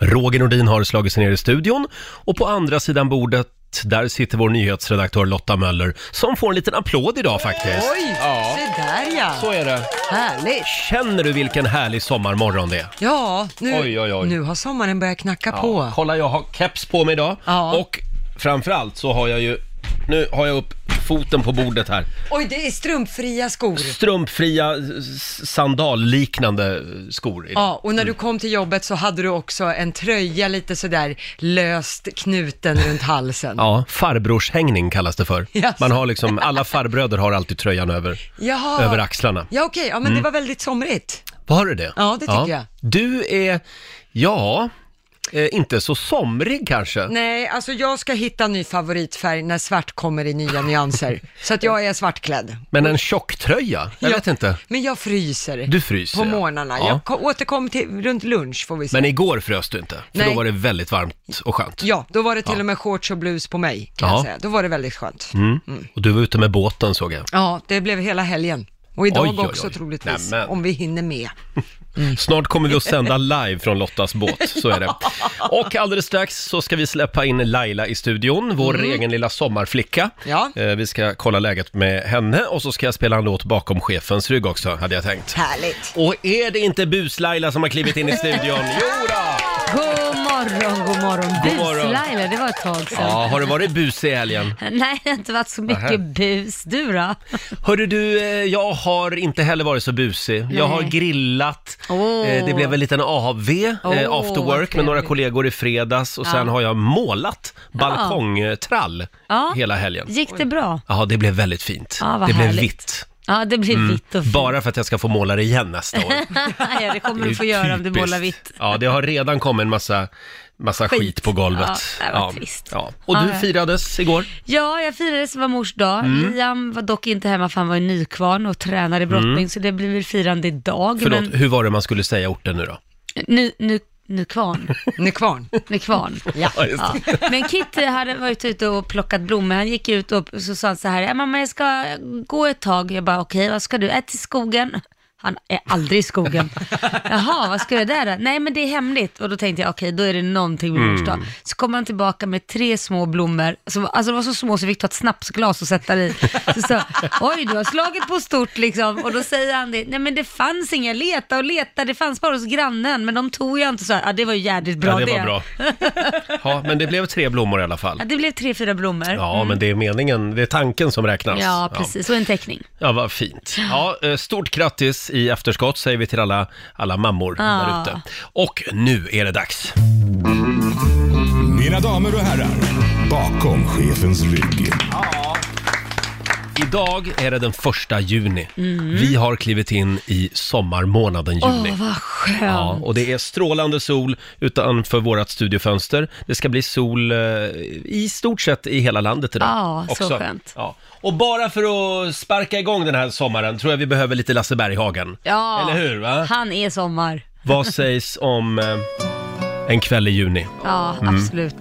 Roger Nordin har slagit sig ner i studion och på andra sidan bordet där sitter vår nyhetsredaktör Lotta Möller som får en liten applåd idag faktiskt. Oj, Ja, se där ja. så är det. Härligt. Känner du vilken härlig sommarmorgon det är? Ja, nu, Oj, oj, oj. nu har sommaren börjat knacka Ja, på. kolla, jag har keps på mig idag. Ja. Och framförallt så har jag ju, nu har jag upp foten på bordet här. Oj, det är strumpfria skor. Strumpfria, s- sandalliknande skor. idag. Ja, och när du kom till jobbet så hade du också en tröja lite sådär löst knuten runt halsen. Ja, farbrorshängning kallas det för. Jaså. Man har liksom, alla farbröder har alltid tröjan över, Jaha. över axlarna. Ja, okej. Ja, men Mm. det var väldigt somrigt. Var det det? Ja, det tycker jag. Du är, ja, eh, inte så somrig kanske. Nej, alltså jag ska hitta ny favoritfärg när svart kommer i nya nyanser. så att jag är svartklädd. Men en tjocktröja? Jag Ja. vet inte. Men jag fryser. Du fryser, På ja. morgnarna. Ja. Jag ko- återkommer till runt lunch får vi se. Men igår frös du inte, för då Nej. var det väldigt varmt och skönt. Ja, då var det till och med shorts och blus på mig, kan Ja. jag säga. Då var det väldigt skönt. Mm. Och du var ute med båten såg jag. Ja, det blev hela helgen. Och idag Oj, oj, oj. också troligtvis, Nämen. om vi hinner med. Mm. Snart kommer vi att sända live från Lottas båt, så är det. Och alldeles strax så ska vi släppa in Laila i studion, vår egen lilla sommarflicka. Mm. Ja. Eh, Vi ska kolla läget med henne och så ska jag spela en låt bakom chefens rygg också, hade jag tänkt. Härligt. Och är det inte Bus-Laila som har klivit in i studion? Jo då! God morgon, god morgon. God morgon. Bus-Laila, det var ett tag sedan. Ja, har det varit bus i helgen? Nej, det har inte varit så mycket bus. Du då? Hörru du, eh, jag har inte heller varit så busig. Jag har Nej. grillat. Åh. Eh, Det blev en liten AV eh, Åh, after vad work med några trevligt. kollegor i fredags och sen har jag målat balkongtrall Ja. hela helgen. Gick det bra? Ja, det blev väldigt fint. Ja, vad det blev härligt. vitt. Ja, det Mm. blir vitt och fint. Bara för att jag ska få måla det igen nästa år. ja, det kommer Det är du få göra om du typiskt. målar vitt. Ja, det har redan kommit en massa, massa skit. på golvet. Ja, det var trist. Ja. Och du Ja, ja. firades igår? Ja, jag firade som var mors dag. Mm. Liam var dock inte hemma för han var i Nykvarn och tränade i brottning, så det blir väl firande idag. Mm. Förlåt, Men, hur var det man skulle säga orten nu då? ny, ny, Nykvarn. Nykvarn. Nykvarn. Ja, just det. typ Ja. Men Kitty hade varit ute och plockat blommor. Han gick ut och så sa han så här, "Ja, mamma jag ska gå ett tag. Jag bara, okej vad ska du? Ät till skogen. Han är aldrig i skogen. Jaha, vad ska du där då? Nej men det är hemligt. Och då tänkte jag, okej då är det någonting med mors Mm. dag. Så kom han tillbaka med tre små blommor. Som, alltså de var så små så vi fick ta ett snapsglas och sätta det i. Så sa jag, oj du har slagit på stort liksom. Och då säger han det, nej men det fanns inga, leta och leta, det fanns bara hos grannen. Men de tog jag inte så här, ja det var ju jädrigt bra ja, det var bra. Ja, men det blev tre blommor i alla fall. Ja, det blev tre, fyra blommor. Ja, men det är meningen, det är tanken som räknas. Ja, precis. Och en teckning. Ja, vad fint. Ja, eh, stort grattis i efterskott säger vi till alla, alla mammor där ute. Och nu är det dags. Mina damer och herrar, bakom chefens rygg. Idag är det den första juni. Vi har klivit in i sommarmånaden Mm. Åh, juni. vad skönt. Ja, och det är strålande sol utanför vårt studiofönster. Det ska bli sol eh, i stort sett i hela landet idag. Ja, så skönt. Ja. Och bara för att sparka igång den här sommaren tror jag vi behöver lite Lasse Berghagen. Ja. Eller hur? Va? Han är sommar. Vad sägs om eh, en kväll i juni? Ja, Mm. absolut.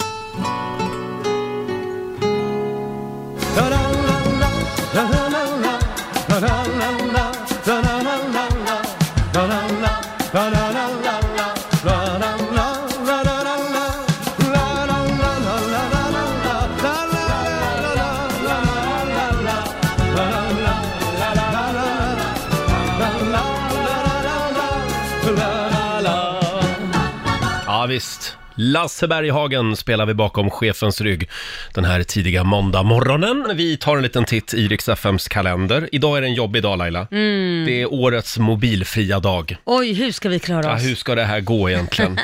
Ja, visst. Lasse Berghagen spelar vi bakom chefens rygg den här tidiga måndag morgonen. Vi tar en liten titt i Rix FMs kalender. Idag är det en jobbig dag Laila. Mm. Det är årets mobilfria dag. Oj, hur ska vi klara Ja, oss? hur ska det här gå egentligen?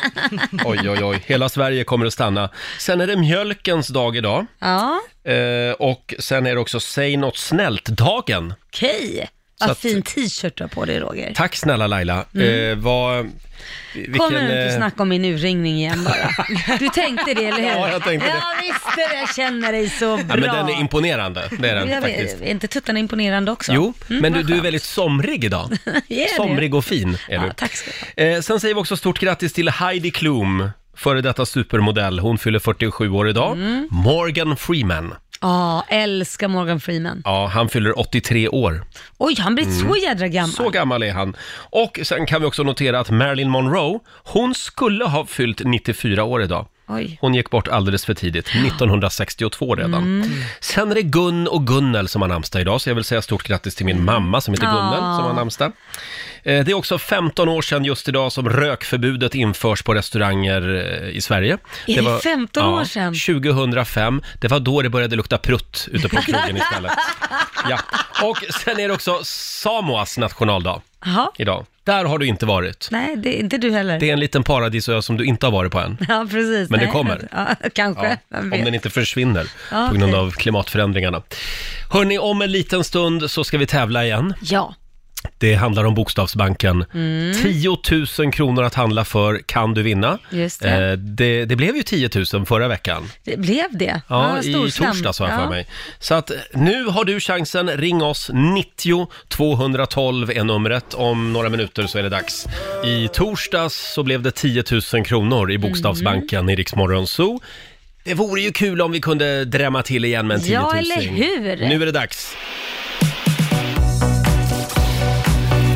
oj, oj, oj. Hela Sverige kommer att stanna. Sen är det mjölkens dag idag. Ja, Eh, och sen är det också Säg något snällt-dagen. okej. Så Vad att- fin t-shirt du har på dig, Roger. Tack snälla Laila. Eh, vad... Kommer Mm. du inte eh, snacka om min urringning igen bara? Du tänkte det, eller hur? Ja, jag tänkte det. Jag visste det, jag känner dig så bra. Ja, men den är imponerande, det är den jag faktiskt. vet, är inte tuttarna imponerande också? Jo, Mm, men du, vad du är skönt. väldigt somrig idag. Är det? somrig och fin är Ja, du. tack ska du ha. Eh, sen säger vi också stort grattis till Heidi Mm. Klum, före detta supermodell. Hon fyller 47 år idag. Morgan Freeman. Ja, älskar Morgan Freeman. Ja, han fyller 83 år. Oj, han blir så jädra gammal. Mm. Så gammal är han. Och sen kan vi också notera att Marilyn Monroe, hon skulle ha fyllt 94 år idag. Oj. Hon gick bort alldeles för tidigt, 1962 redan. Mm. Sen är det Gun och Gunnel som har namnsdag idag, så jag vill säga stort grattis till min mamma som heter Ah. Gunnel som har namnsdag. Eh, Det är också 15 år sedan just idag som rökförbudet införs på restauranger eh, i Sverige. Är det 15 år sedan? 2005. Det var då det började lukta prutt ute på krogen istället. Ja. Och sen är det också Samoas nationaldag Jaha. idag. Där har du inte varit. Nej, det är inte du heller. Det är en liten paradisö som du inte har varit på än. Ja, precis. Men det Nej. kommer. Ja, kanske. Ja, om Vem vet. den inte försvinner Ja, på grund okej. av klimatförändringarna. Hörni, om en liten stund så ska vi tävla igen. Ja. Det handlar om Bokstavsbanken. Mm. 10 000 kronor att handla för kan du vinna. Just det. Eh, det, det blev ju 10 000 förra veckan. Det blev det? Ja, i storslam. torsdags har jag Ja. för mig. Så att nu har du chansen. Ring oss. 90 212 är numret. Om några minuter så är det dags. I torsdags så blev det 10 000 kronor i Bokstavsbanken Mm. i Rix Morgon Zoo. Det vore ju kul om vi kunde drämma till igen med en 10 000. Ja, eller hur? Nu är det dags.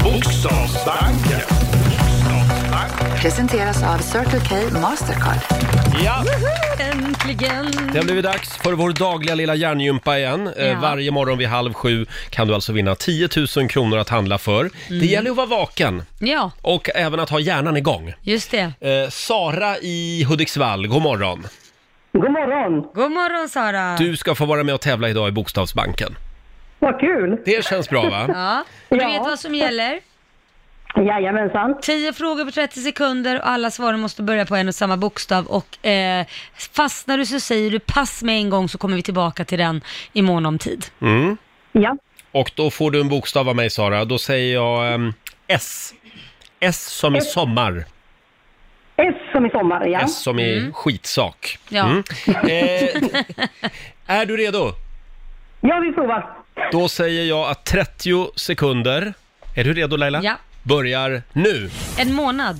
Bokstavsbanken. Presenteras av Circle K Mastercard. Ja, Äntligen! det har blivit dags för vår dagliga lilla hjärngympa igen. Eh, Ja. Varje morgon vid halv sju kan du alltså vinna 10 000 kronor att handla för. Mm. Det gäller ju att vara vaken Ja, och även att ha hjärnan igång. just det. Eh, Sara i Hudiksvall, god morgon. God morgon! God morgon Sara! Du ska få vara med och tävla idag i Bokstavsbanken. Vad kul! Det känns bra va? Ja. Du Ja. vet vad som gäller? Jajamensan. 10 frågor på 30 sekunder och alla svaren måste börja på en och samma bokstav och eh, fastnar du så säger du pass med en gång så kommer vi tillbaka till den i mån om tid. Ja. Och då får du en bokstav av mig Sara, då säger jag ehm, S. S som i sommar, S som i sommar, ja. S som i Mm. skitsak. Ja. Eh, är du redo? Ja, vi provar. Då säger jag att 30 sekunder, är du redo Laila? Ja. Börjar nu. En månad,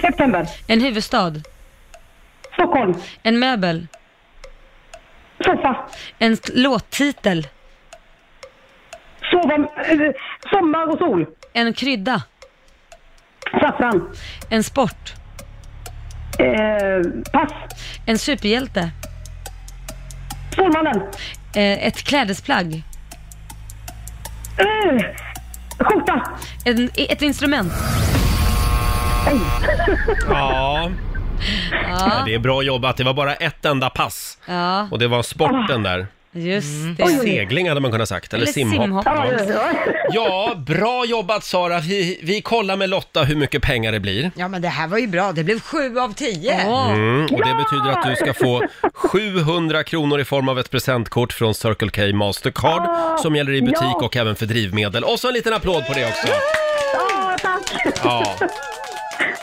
September. en huvudstad, Stockholm. en möbel, Soffa. en t- låttitel, Sova, eh, sommar och sol. en krydda, Saffran. en sport, Eh, pass. en superhjälte, Stålmannen. eh, ett klädesplagg, Eh, skjorta. en, ett instrument. Ja. ja. Det är bra jobbat, det var bara ett enda pass. Ja, Och det var sporten där. just det. Segling hade man kunnat sagt, eller, Eller simhopp. Ja, ja, ja. Ja, bra jobbat Sara. Vi, vi kollar med Lotta hur mycket pengar det blir. Ja, men det här var ju bra. Det blev sju av tio. Åh, Mm, och det betyder att du ska få 700 kronor i form av ett presentkort från Circle K Mastercard Ah, som gäller i butik och även för drivmedel. Och så en liten applåd på det också. Ja, tack. Ja.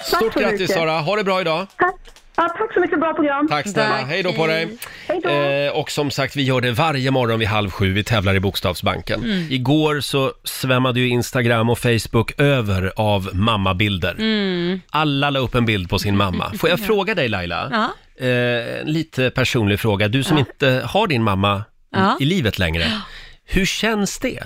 Stort så grattis mycket. Sara, ha det bra idag. Tack. Ja, tack så mycket. Bra program. Tack snälla, Tack, hej då på dig. Hej då. Eh, och som sagt, vi gör det varje morgon vid halv sju. Vi tävlar i Bokstavsbanken. Mm. Igår så svämmade ju Instagram och Facebook över av mammabilder. Mm. Alla la upp en bild på sin mamma. Får jag fråga dig Laila? Eh, en lite personlig fråga. Du som inte har din mamma Ja. i livet längre. Hur känns det?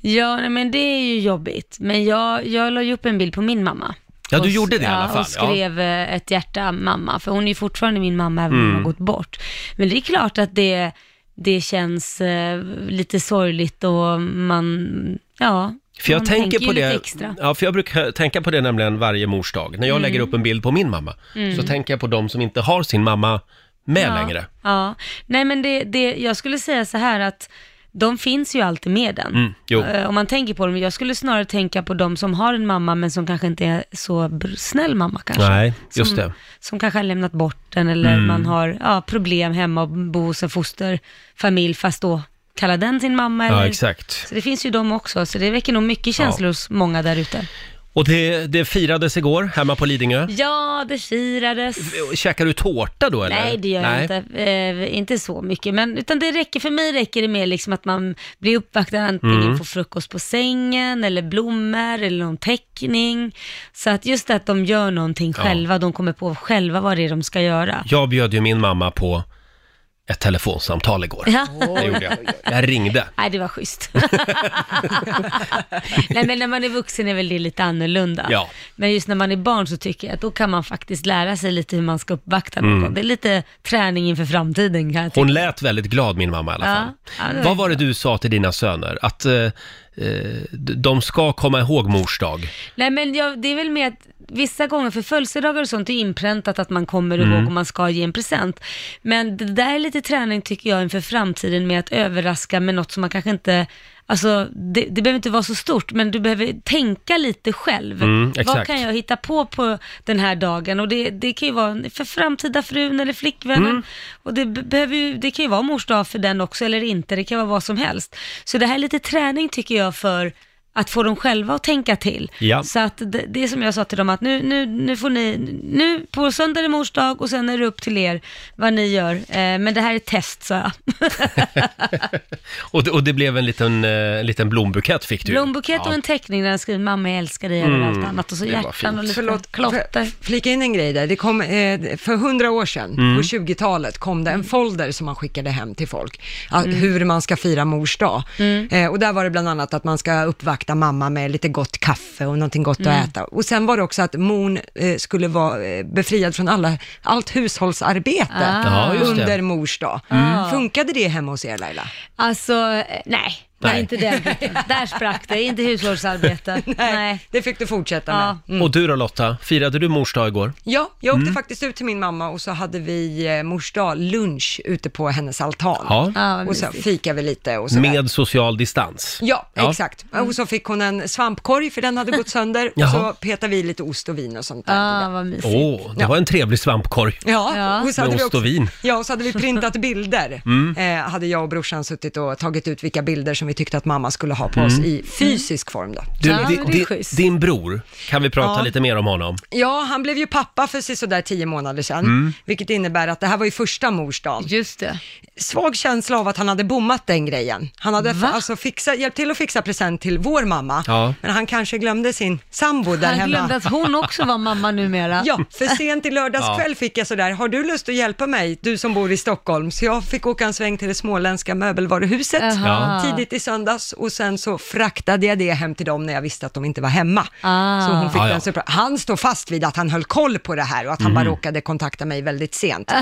Ja, nej, men det är ju jobbigt. Men jag, jag la ju upp en bild på min mamma. Ja, du Och s- gjorde det i alla ja, fall, Och skrev eh, ett hjärta mamma, för hon är ju fortfarande min mamma även om Mm. hon har gått bort. Men det är klart att det, det känns eh, lite sorgligt och man, ja. För jag man tänker på ju det, Lite extra. Mm. Ja, för jag brukar tänka på det nämligen varje mors dag. När jag lägger upp en bild på min mamma så tänker jag på de som inte har sin mamma med ja, längre. Ja, nej men det, det, jag skulle säga så här att de finns ju alltid med den. Mm, jo. Eh, Om man tänker på dem, jag skulle snarare tänka på de som har en mamma men som kanske inte är så br- snäll mamma kanske. Nej, Mm. just som, det. Som kanske har lämnat bort den eller man har ja, problem hemma och bor hos en fosterfamilj fast då kallar den sin mamma. Eller? Ja, exakt. Så det finns ju de också, så det väcker nog mycket känslor Ja. hos många där ute. Och det, det firades igår hemma på Lidingö. Ja, det firades. Käkar du tårta då eller? Nej, det gör jag inte. Eh, inte så mycket, men utan det räcker, för mig räcker det med liksom att man blir uppvaktad antingen Mm. på frukost på sängen eller blommor eller någon teckning. Så att just det att de gör någonting själva, de kommer på själva vad det är de ska göra. Jag bjöd ju min mamma på ett telefonsamtal igår. Ja. Det gjorde jag. Jag ringde. Nej, det var schysst. Nej, men när man är vuxen är väl det lite annorlunda. Ja. Men just när man är barn så tycker jag att då kan man faktiskt lära sig lite hur man ska uppvakta Mm. någon. Det är lite träning inför framtiden kan jag tycka. Hon lät väldigt glad min mamma i alla Ja. fall. Ja, det var Vad var det du sa till dina söner? Att eh, eh, d- de ska komma ihåg mors dag. Nej, men jag, det är väl med att vissa gånger, för födelsedagar och sånt är inpräntat att man kommer ihåg Mm. och man ska ge en present. Men det där är lite träning tycker jag inför framtiden med att överraska med något som man kanske inte Alltså, det, det behöver inte vara så stort, men du behöver tänka lite själv. Mm, Vad exakt. kan jag hitta på på den här dagen? Och det, det kan ju vara för framtida frun eller flickvännen. Mm. Och det, be- behöver ju, det kan ju vara mors dag för den också, eller inte. Det kan vara vad som helst. Så det här är lite träning tycker jag för att få dem själva att tänka till. Ja. Så att det, det är som jag sa till dem att nu, nu, nu får ni, nu på söndag är det mors dag och sen är det upp till er vad ni gör. Eh, men det här är ett test sa jag. Och det, och det blev en liten, eh, en liten blombukett fick du. ju. Blombukett och Ja. Mm. en teckning där jag skriver mamma jag älskar dig över allt annat och så det var hjärtan och fint. lite Förlåt, klotter. för- flika in en grej där. Det kom, eh, för hundra år sedan, Mm. på 20-talet, kom det en folder som man skickade hem till folk, att, Mm. hur man ska fira mors dag. Eh, och där var det bland annat att man ska uppvakta mamma med lite gott kaffe och någonting gott Mm. att äta. Och sen var det också att mon eh, skulle vara eh, befriad från alla, allt hushållsarbete Ah, Ja, just det. Mm. under mors dag. Ah. Funkade det hemma hos er Laila? Alltså, eh, nej. Nej. Nej. Inte den biten. Där sprack det, inte hushållsarbete. Nej. Det fick du fortsätta med. Ja. Och du då Lotta, firade du mors dag igår? Ja, jag Mm. åkte faktiskt ut till min mamma och så hade vi eh, mors dag lunch ute på hennes altan. Ja. Ja, Ah, vad och så mysigt. fikade vi lite och sådär. Med social distans. Ja, exakt. Och så fick hon en svampkorg för den hade gått sönder. och Jaha. så petade vi lite ost och vin och sånt där. Ah, vad mysigt. Åh, det var en trevlig svampkorg. Ja, Ja. Och så Med hade vi ost och också, vin. Mm. Ja, och så hade vi printat bilder. Eh, hade jag och brorsan suttit och tagit ut vilka bilder som vi tyckte att mamma skulle ha på Mm. oss Mm. i fysisk form då. Du, Ja, men di- det är di- schysst. din bror, kan vi prata Ja. lite mer om honom? Ja, han blev ju pappa för sisådär tio månader sedan, Mm. vilket innebär att det här var ju första morsdagen. Just det. svag känsla av att han hade bommat den grejen. Han hade Va? alltså fixa, hjälpt till att fixa present till vår mamma, Ja. men han kanske glömde sin sambo där Han hemma. glömde att hon också var mamma numera. Ja, för sent i lördagskväll fick jag sådär, har du lust att hjälpa mig, du som bor i Stockholm? Så jag fick åka en sväng till det småländska möbelvaruhuset Jaha. tidigt i söndags och sen så fraktade jag det hem till dem när jag visste att de inte var hemma. Ah. Så hon fick Ah, ja. Mhm. den surpri- Han står fast vid att han höll koll på det här och att han bara råkade kontakta mig väldigt sent.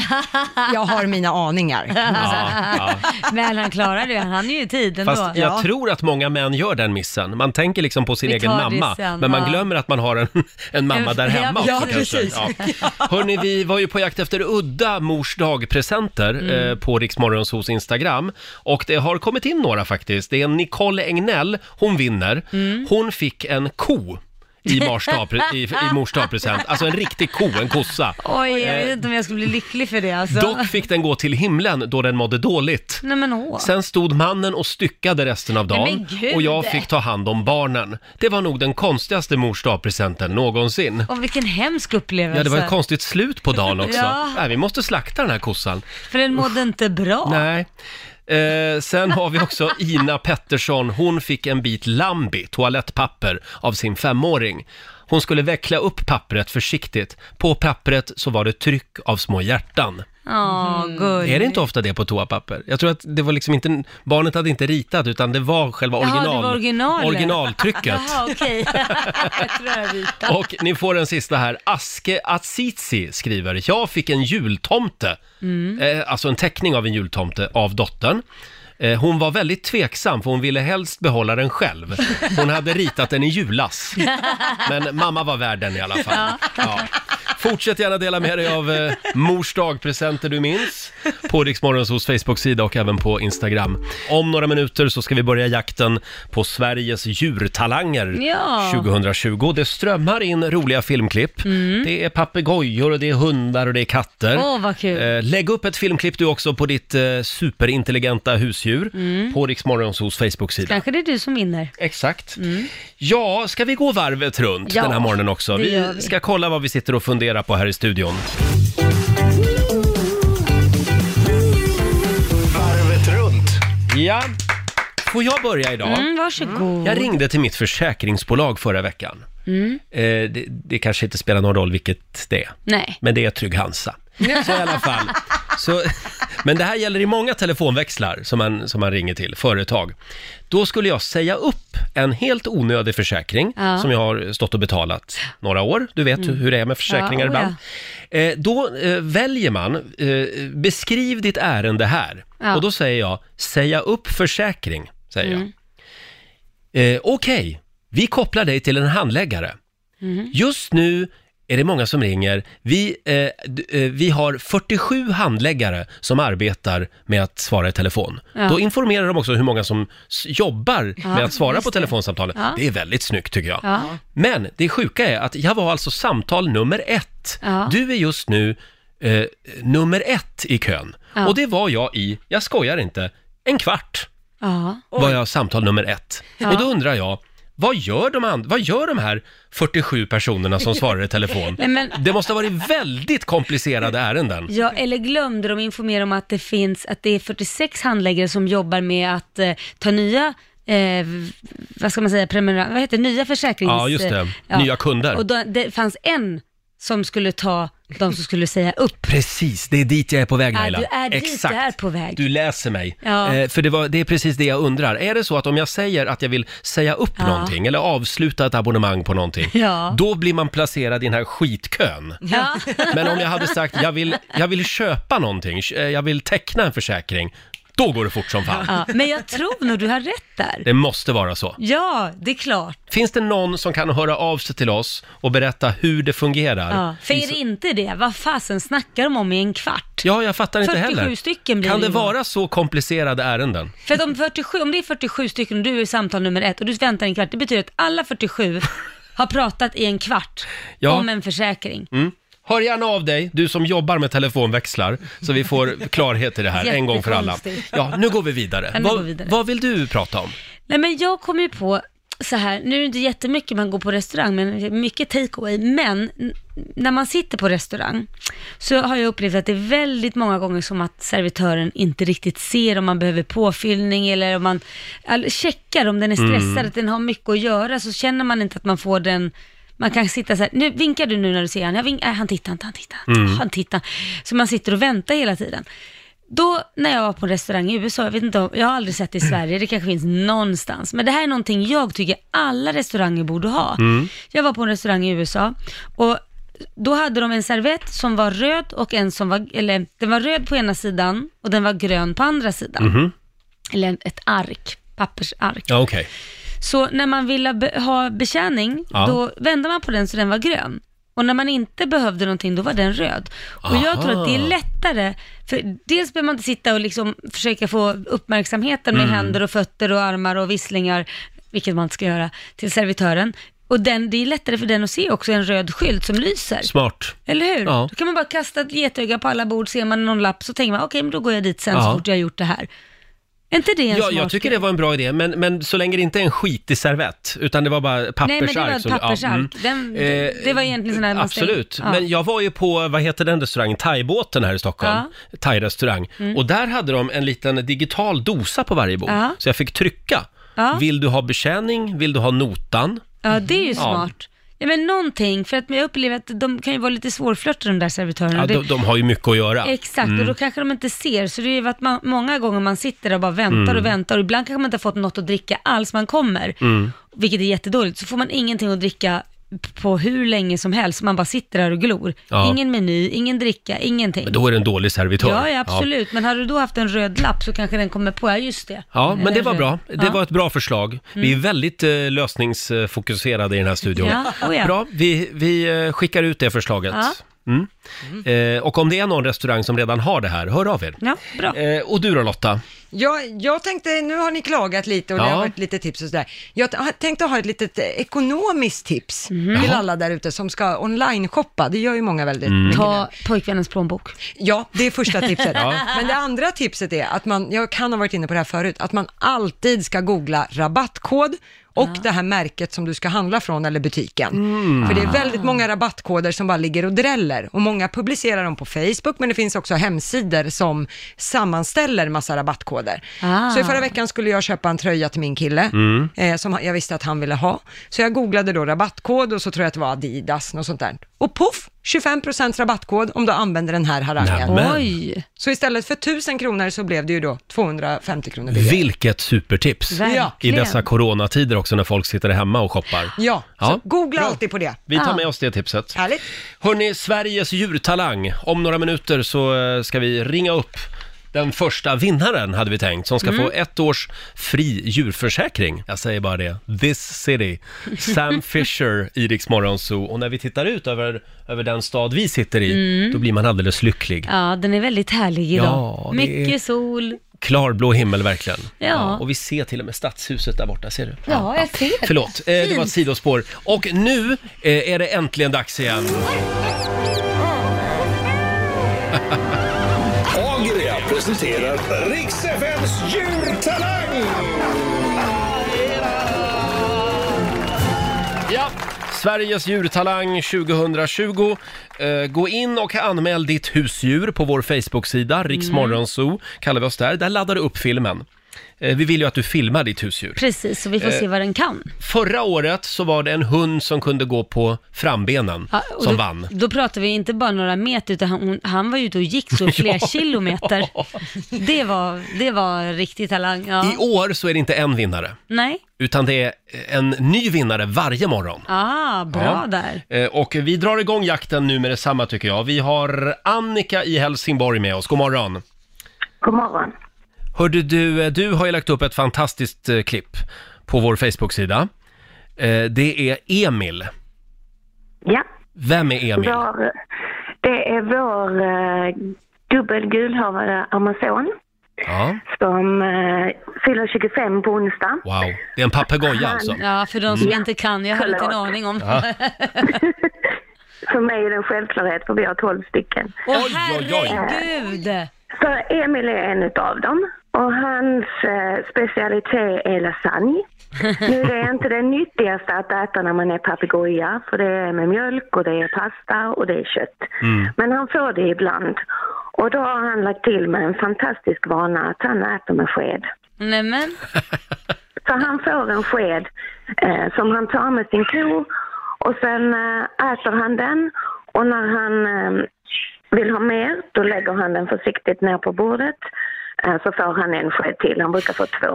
Jag har mina aningar. Ja, ja. Men han klarade det, han hann ju i tid ändå. Fast jag tror att många män gör den missen. Man tänker liksom på sin Vi egen tar det mamma, sen, men man ja. glömmer att man har en, en mamma En- där hemma ja, också precis. kanske. Ja. Hörni, vi var ju på jakt efter udda mors dag-presenter Mm. eh, på Riksmorgons hos Instagram. Och det har kommit in några faktiskt. Det är Nicole Engnell, hon vinner. Mm. Hon fick en ko. I, marsdag, i, i mors dag-present. Alltså en riktig ko, en kossa. Oj, jag vet inte om jag skulle bli lycklig för det alltså. Eh, Dock fick den gå till himlen då den mådde dåligt. Nej men åh. Sen stod mannen och styckade resten av Nej, dagen men gud! och jag fick ta hand om barnen. Det var nog den konstigaste mors presenten någonsin. Och vilken hemsk upplevelse. Ja, det var ett konstigt slut på dagen också. Alltså. Ja. Nej, vi måste slakta den här kossan. För den mådde inte bra. Nej. Eh, sen har vi också Ina Pettersson. Hon fick en bit Lambi, toalettpapper, av sin femåring. Hon skulle veckla upp pappret försiktigt. På pappret så var det tryck av små hjärtan. Åh, gulligt. Mm. Är det inte ofta det på toapapper? Jag tror att det var liksom inte, barnet hade inte ritat utan det var själva Jaha, det original, var originalet. originaltrycket. Jaha, okej. jag tror jag vita. Och ni får den sista här. Aske Azizi skriver, jag fick en jultomte, eh, alltså en teckning av en jultomte av dottern. Eh, Hon var väldigt tveksam för hon ville helst behålla den själv. Hon hade ritat den i julas. Men mamma var värd den i alla fall. Ja. Fortsätt gärna dela med dig av eh, mors dagpresenter du minns på Riksmorgonsos Facebook-sida och även på Instagram. Om några minuter så ska vi börja jakten på Sveriges djurtalanger Ja. 2020. Det strömmar in roliga filmklipp. Det är papegojor och det är hundar och det är katter. Mm. Åh, vad kul. Eh, Lägg upp ett filmklipp du också på ditt eh, superintelligenta husdjur Mm. på Riksmorgonsos Facebook-sida. Kanske det är du som vinner. Exakt. Ja, ska vi gå varvet runt Mm. Ja, den här morgonen också? det Vi, gör vi. ska kolla vad vi sitter och funderar på här i studion. Varvet runt. Ja, får jag börja idag? Mm, Mm. varsågod. Jag ringde till mitt försäkringsbolag förra veckan. Eh, det, det kanske inte spelar någon roll vilket det är. Nej. Men det är Trygg-Hansa. Så i alla fall. Så Men det här gäller i många telefonväxlar som man, som man ringer till, företag. Då skulle jag säga upp en helt onödig försäkring Ja. Mm. som jag har stått och betalat några år. Du vet hur det är med försäkringar Ja, oh ja. ibland. Eh, då eh, väljer man, eh, beskriv ditt ärende här. Ja. Mm. Och då säger jag, säga upp försäkring, säger jag. Eh, Okej, vi kopplar dig till en handläggare. Mhm. Just nu är det många som ringer. Vi, eh, d- eh, vi har 47 handläggare som arbetar med att svara i telefon. Då informerar de också hur många som s- jobbar med att svara just på det. telefonsamtalen. Ja. Det är väldigt snyggt tycker jag. Ja. Men det sjuka är att jag var alltså samtal nummer ett. Ja. Du är just nu eh, nummer ett i kön. Ja. Och det var jag i, jag skojar inte, en kvart Ja. var jag samtal nummer ett. Och då undrar jag, vad gör, de and- vad gör de här 47 personerna som svarar i telefon? Nej, men- Det måste ha varit väldigt komplicerade ärenden. Ja, eller glömde de informera om att det finns, att det är 46 handläggare som jobbar med att eh, ta nya Eh, v- vad ska man säga, prenumeran- vad heter det? nya försäkrings... Ja, just det. eh, Nya kunder. Och då, det fanns en som skulle ta de som skulle säga upp. Precis, det är dit jag är på väg Ja, Laila. du är dit Exakt. du är på väg. Du läser mig. Ja. Eh, för det, var, det är precis det jag undrar. Är det så att om jag säger att jag vill säga upp Ja. någonting eller avsluta ett abonnemang på någonting, Ja. då blir man placerad i den här skitkön. Ja. Men om jag hade sagt jag vill, jag vill köpa någonting, eh, jag vill teckna en försäkring, då går det fort som fan. ja. Men jag tror nog du har rätt där. Det måste vara så. Ja, det är klart. Finns det någon som kan höra av sig till oss och berätta hur det fungerar? Ja. För är det inte det, vad fasen snackar de om i en kvart? Ja, jag fattar inte 47 heller. stycken blir kan det det ju. vara så komplicerade ärenden? För att om, 47, om det är 47 stycken och du är samtal nummer ett och du väntar en kvart, det betyder att alla 47 har pratat i en kvart Ja. om en försäkring. Hör gärna av dig, du som jobbar med telefonväxlar, så vi får klarhet i det här en gång för alla. Jättekonstigt. Ja, nu går vi vidare. Ja, nu vad, går vi vidare. vad vill du prata om? Nej men jag kom ju på så här, nu är det inte jättemycket man går på restaurang, men mycket takeaway. Men n- när man sitter på restaurang så har jag upplevt att det är väldigt många gånger som att servitören inte riktigt ser om man behöver påfyllning eller om man all- checkar om den är stressad, att den har mycket att göra, så känner man inte att man får den man kan sitta så här, nu vinkar du nu när du ser han, jag vink, nej, han tittar inte, han tittar inte, han tittar. Så man sitter och väntar hela tiden. Då när jag var på en restaurang i USA, jag vet inte om, jag har aldrig sett det i Sverige, det kanske finns någonstans, men det här är någonting jag tycker alla restauranger borde ha. Jag var på en restaurang i USA och då hade de en servett som var röd och en som var, eller den var röd på ena sidan och den var grön på andra sidan. Eller ett ark, pappersark. Ja, okej. Så när man ville be- ha betjäning, Ja. då vände man på den så den var grön. Och när man inte behövde någonting, då var den röd. Och jag tror att det är Aha. lättare, för dels behöver man inte sitta och liksom försöka få uppmärksamheten Mm. med händer och fötter och armar och visslingar, vilket man inte ska göra, till servitören. Och den, det är lättare för den att se också en röd skylt som lyser. Smart. Eller hur? Ja. Då kan man bara kasta ett getöga på alla bord, ser man någon lapp så tänker man okej, men då går jag dit sen Ja. så fort jag har gjort det här. Är inte det en Ja, smart jag tycker grej? det var en bra idé, men, men så länge det inte är en skitig servett, utan det var bara pappersark. Nej, men det var ett som- ja, pappersark. mm. Den, det- det var egentligen sån här man stänger- Absolut, Ja. men jag var ju på, vad heter den restaurangen, thaibåten här i Stockholm, thai-restaurang. Och där hade de en liten digital dosa på varje bord, Mm. Ja. så jag fick trycka. Ja. Mm, Vill du ha betjäning? Vill du ha notan? Ja, det är Mhm. ju smart. Ja, men någonting, för att jag upplever att de kan ju vara lite svårflörtade de där servitörerna. Ja, Mm. Det- de, de har ju mycket att göra. Exakt, och då kanske de inte ser. Så det är ju att man, många gånger man sitter och bara väntar Mm. och väntar och ibland kanske man inte har fått något att dricka alls. Man kommer, Mm. vilket är jättedåligt, så får man ingenting att dricka på hur länge som helst. Man bara sitter där och glor. Ja. Ingen meny, ingen dricka, ingenting. Men då är det en dålig servitör. ja, ja, absolut. Men hade du då haft en röd lapp så kanske den kommer på, ja just det. Ja, men det Den var röd- bra. Det Ja. Mm. var ett bra förslag. Vi är väldigt eh, lösningsfokuserade i den här studion. Ja, oh ja. Bra, vi, vi eh, skickar ut det förslaget. Ja. Mm. Eh, och om det är någon restaurang som redan har det här, hör av er. Ja, bra. Eh, och du då Lotta? Jag, jag tänkte, nu har ni klagat lite och det Ja. har varit lite tips och sådär. Jag t- tänkte ha ett litet eh, ekonomiskt tips Mm. till alla där ute som ska online-shoppa. Det gör ju många väldigt mycket nu. Ta pojkvännens plånbok. Ja, det är första tipset. Ja. Men det andra tipset är att man, jag kan ha varit inne på det här förut, att man alltid ska googla rabattkod och det här märket som du ska handla från eller butiken. Mm. För Ah. det är väldigt många rabattkoder som bara ligger och dräller och många publicerar dem på Facebook men det finns också hemsidor som sammanställer massa rabattkoder. Ah. Så i förra veckan skulle jag köpa en tröja till min kille eh, som jag visste att han ville ha. Så jag googlade då rabattkod och så tror jag att det var Adidas och sånt där. Och poff! 25% rabattkod om du använder den här harangen. Nämen. Oj, Så istället för 1000 kronor så blev det ju då 250 kronor billigare. Vilket supertips! I verkligen. dessa coronatider också när folk sitter hemma och shoppar. Ja, Ja. så googla Bra. alltid på det. Vi tar Ja. med oss det tipset. Härligt. Hörni, Sveriges djurtalang. Om några minuter så eh, ska vi ringa upp den första vinnaren hade vi tänkt, som ska Mm. få ett års fri djurförsäkring. Jag säger bara det. This city. Sam Fisher i Rix Morgon Zoo. Och när vi tittar ut över, över den stad vi sitter i, då blir man alldeles lycklig. Mm. ja den är väldigt härlig idag. Ja, det Mycket är- sol. Klarblå himmel verkligen. Ja. och vi ser till och med stadshuset där borta, ser du? Ja, jag ser det. Förlåt, eh, det var ett Fint. sidospår. Och nu eh, är det äntligen dags igen. Agria presenterar riks FMs djurtalang! Ja. Sveriges djurtalang 2020. Eh, gå in och anmäl ditt husdjur på vår Facebook-sida, Riksmorgonzoo kallar vi oss där. Där laddar du upp filmen. Eh, vi vill ju att du filmar ditt husdjur. Precis, så vi får Eh, se vad den kan. Förra året så var det en hund som kunde gå på frambenen Ja, och som då, vann. Då pratar vi inte bara några meter, utan han, hon- han var ute och gick så flera kilometer. Det var, det var riktig talang. Ja. I år så är det inte en vinnare, Nej, utan det är en ny vinnare varje morgon. ah, bra Ja. där. Eh, Och vi drar igång jakten nu med detsamma tycker jag. Vi har Annika i Helsingborg med oss. God morgon! God morgon. Hörde du, eh, du har ju lagt upp ett fantastiskt eh, klipp på vår Facebook-sida. Eh, Det är Emil. Ja, Vem är Emil? vår, det är vår eh, dubbelgulhavade amazon Ja. som eh, fyller 25 på onsdag. Wow, det är en papegoja alltså. Ja, för de som inte kan, jag har inte en Förlåt. aning om. För mig är det en självklarhet för vi har 12 stycken. Åh Oj, oj, oj. herregud! Så Emil är en utav dem och hans eh, specialitet är lasagne. Nu det är inte det nyttigaste att äta när man är papegoja för det är med mjölk och det är pasta och det är kött. Men han får det ibland. Och då har han lagt till med en fantastisk vana att han äter med sked. Nej men, Så han får en sked eh, som han tar med sin ko och sen eh, äter han den och när han eh, vill ha mer då lägger han den försiktigt ner på bordet eh, så får han en sked till, han brukar få två.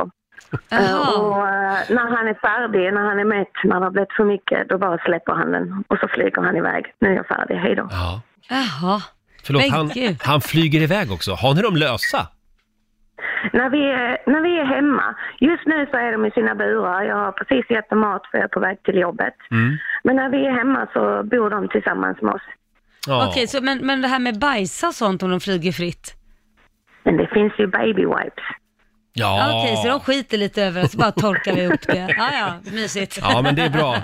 Eh, jaha. och eh, när han är färdig, när han är mätt, när det har blivit för mycket, då bara släpper han den och så flyger han iväg. Nu är jag färdig, hej då. Ja. Jaha. Förlåt, Men han, gud. han flyger iväg också. Har ni dem lösa? När vi, är, när vi är hemma, just nu så är de i sina burar. Jag har precis gett dem mat för jag är på väg till jobbet. Men när vi är hemma så bor de tillsammans med oss. Ja. Okej, så, men, men det här med bajsa och sånt om de flyger fritt? Men det finns ju baby wipes. ja. Okej, så de skiter lite över det, så bara torkar vi upp det. Ja, ja, mysigt. ja, men det är bra.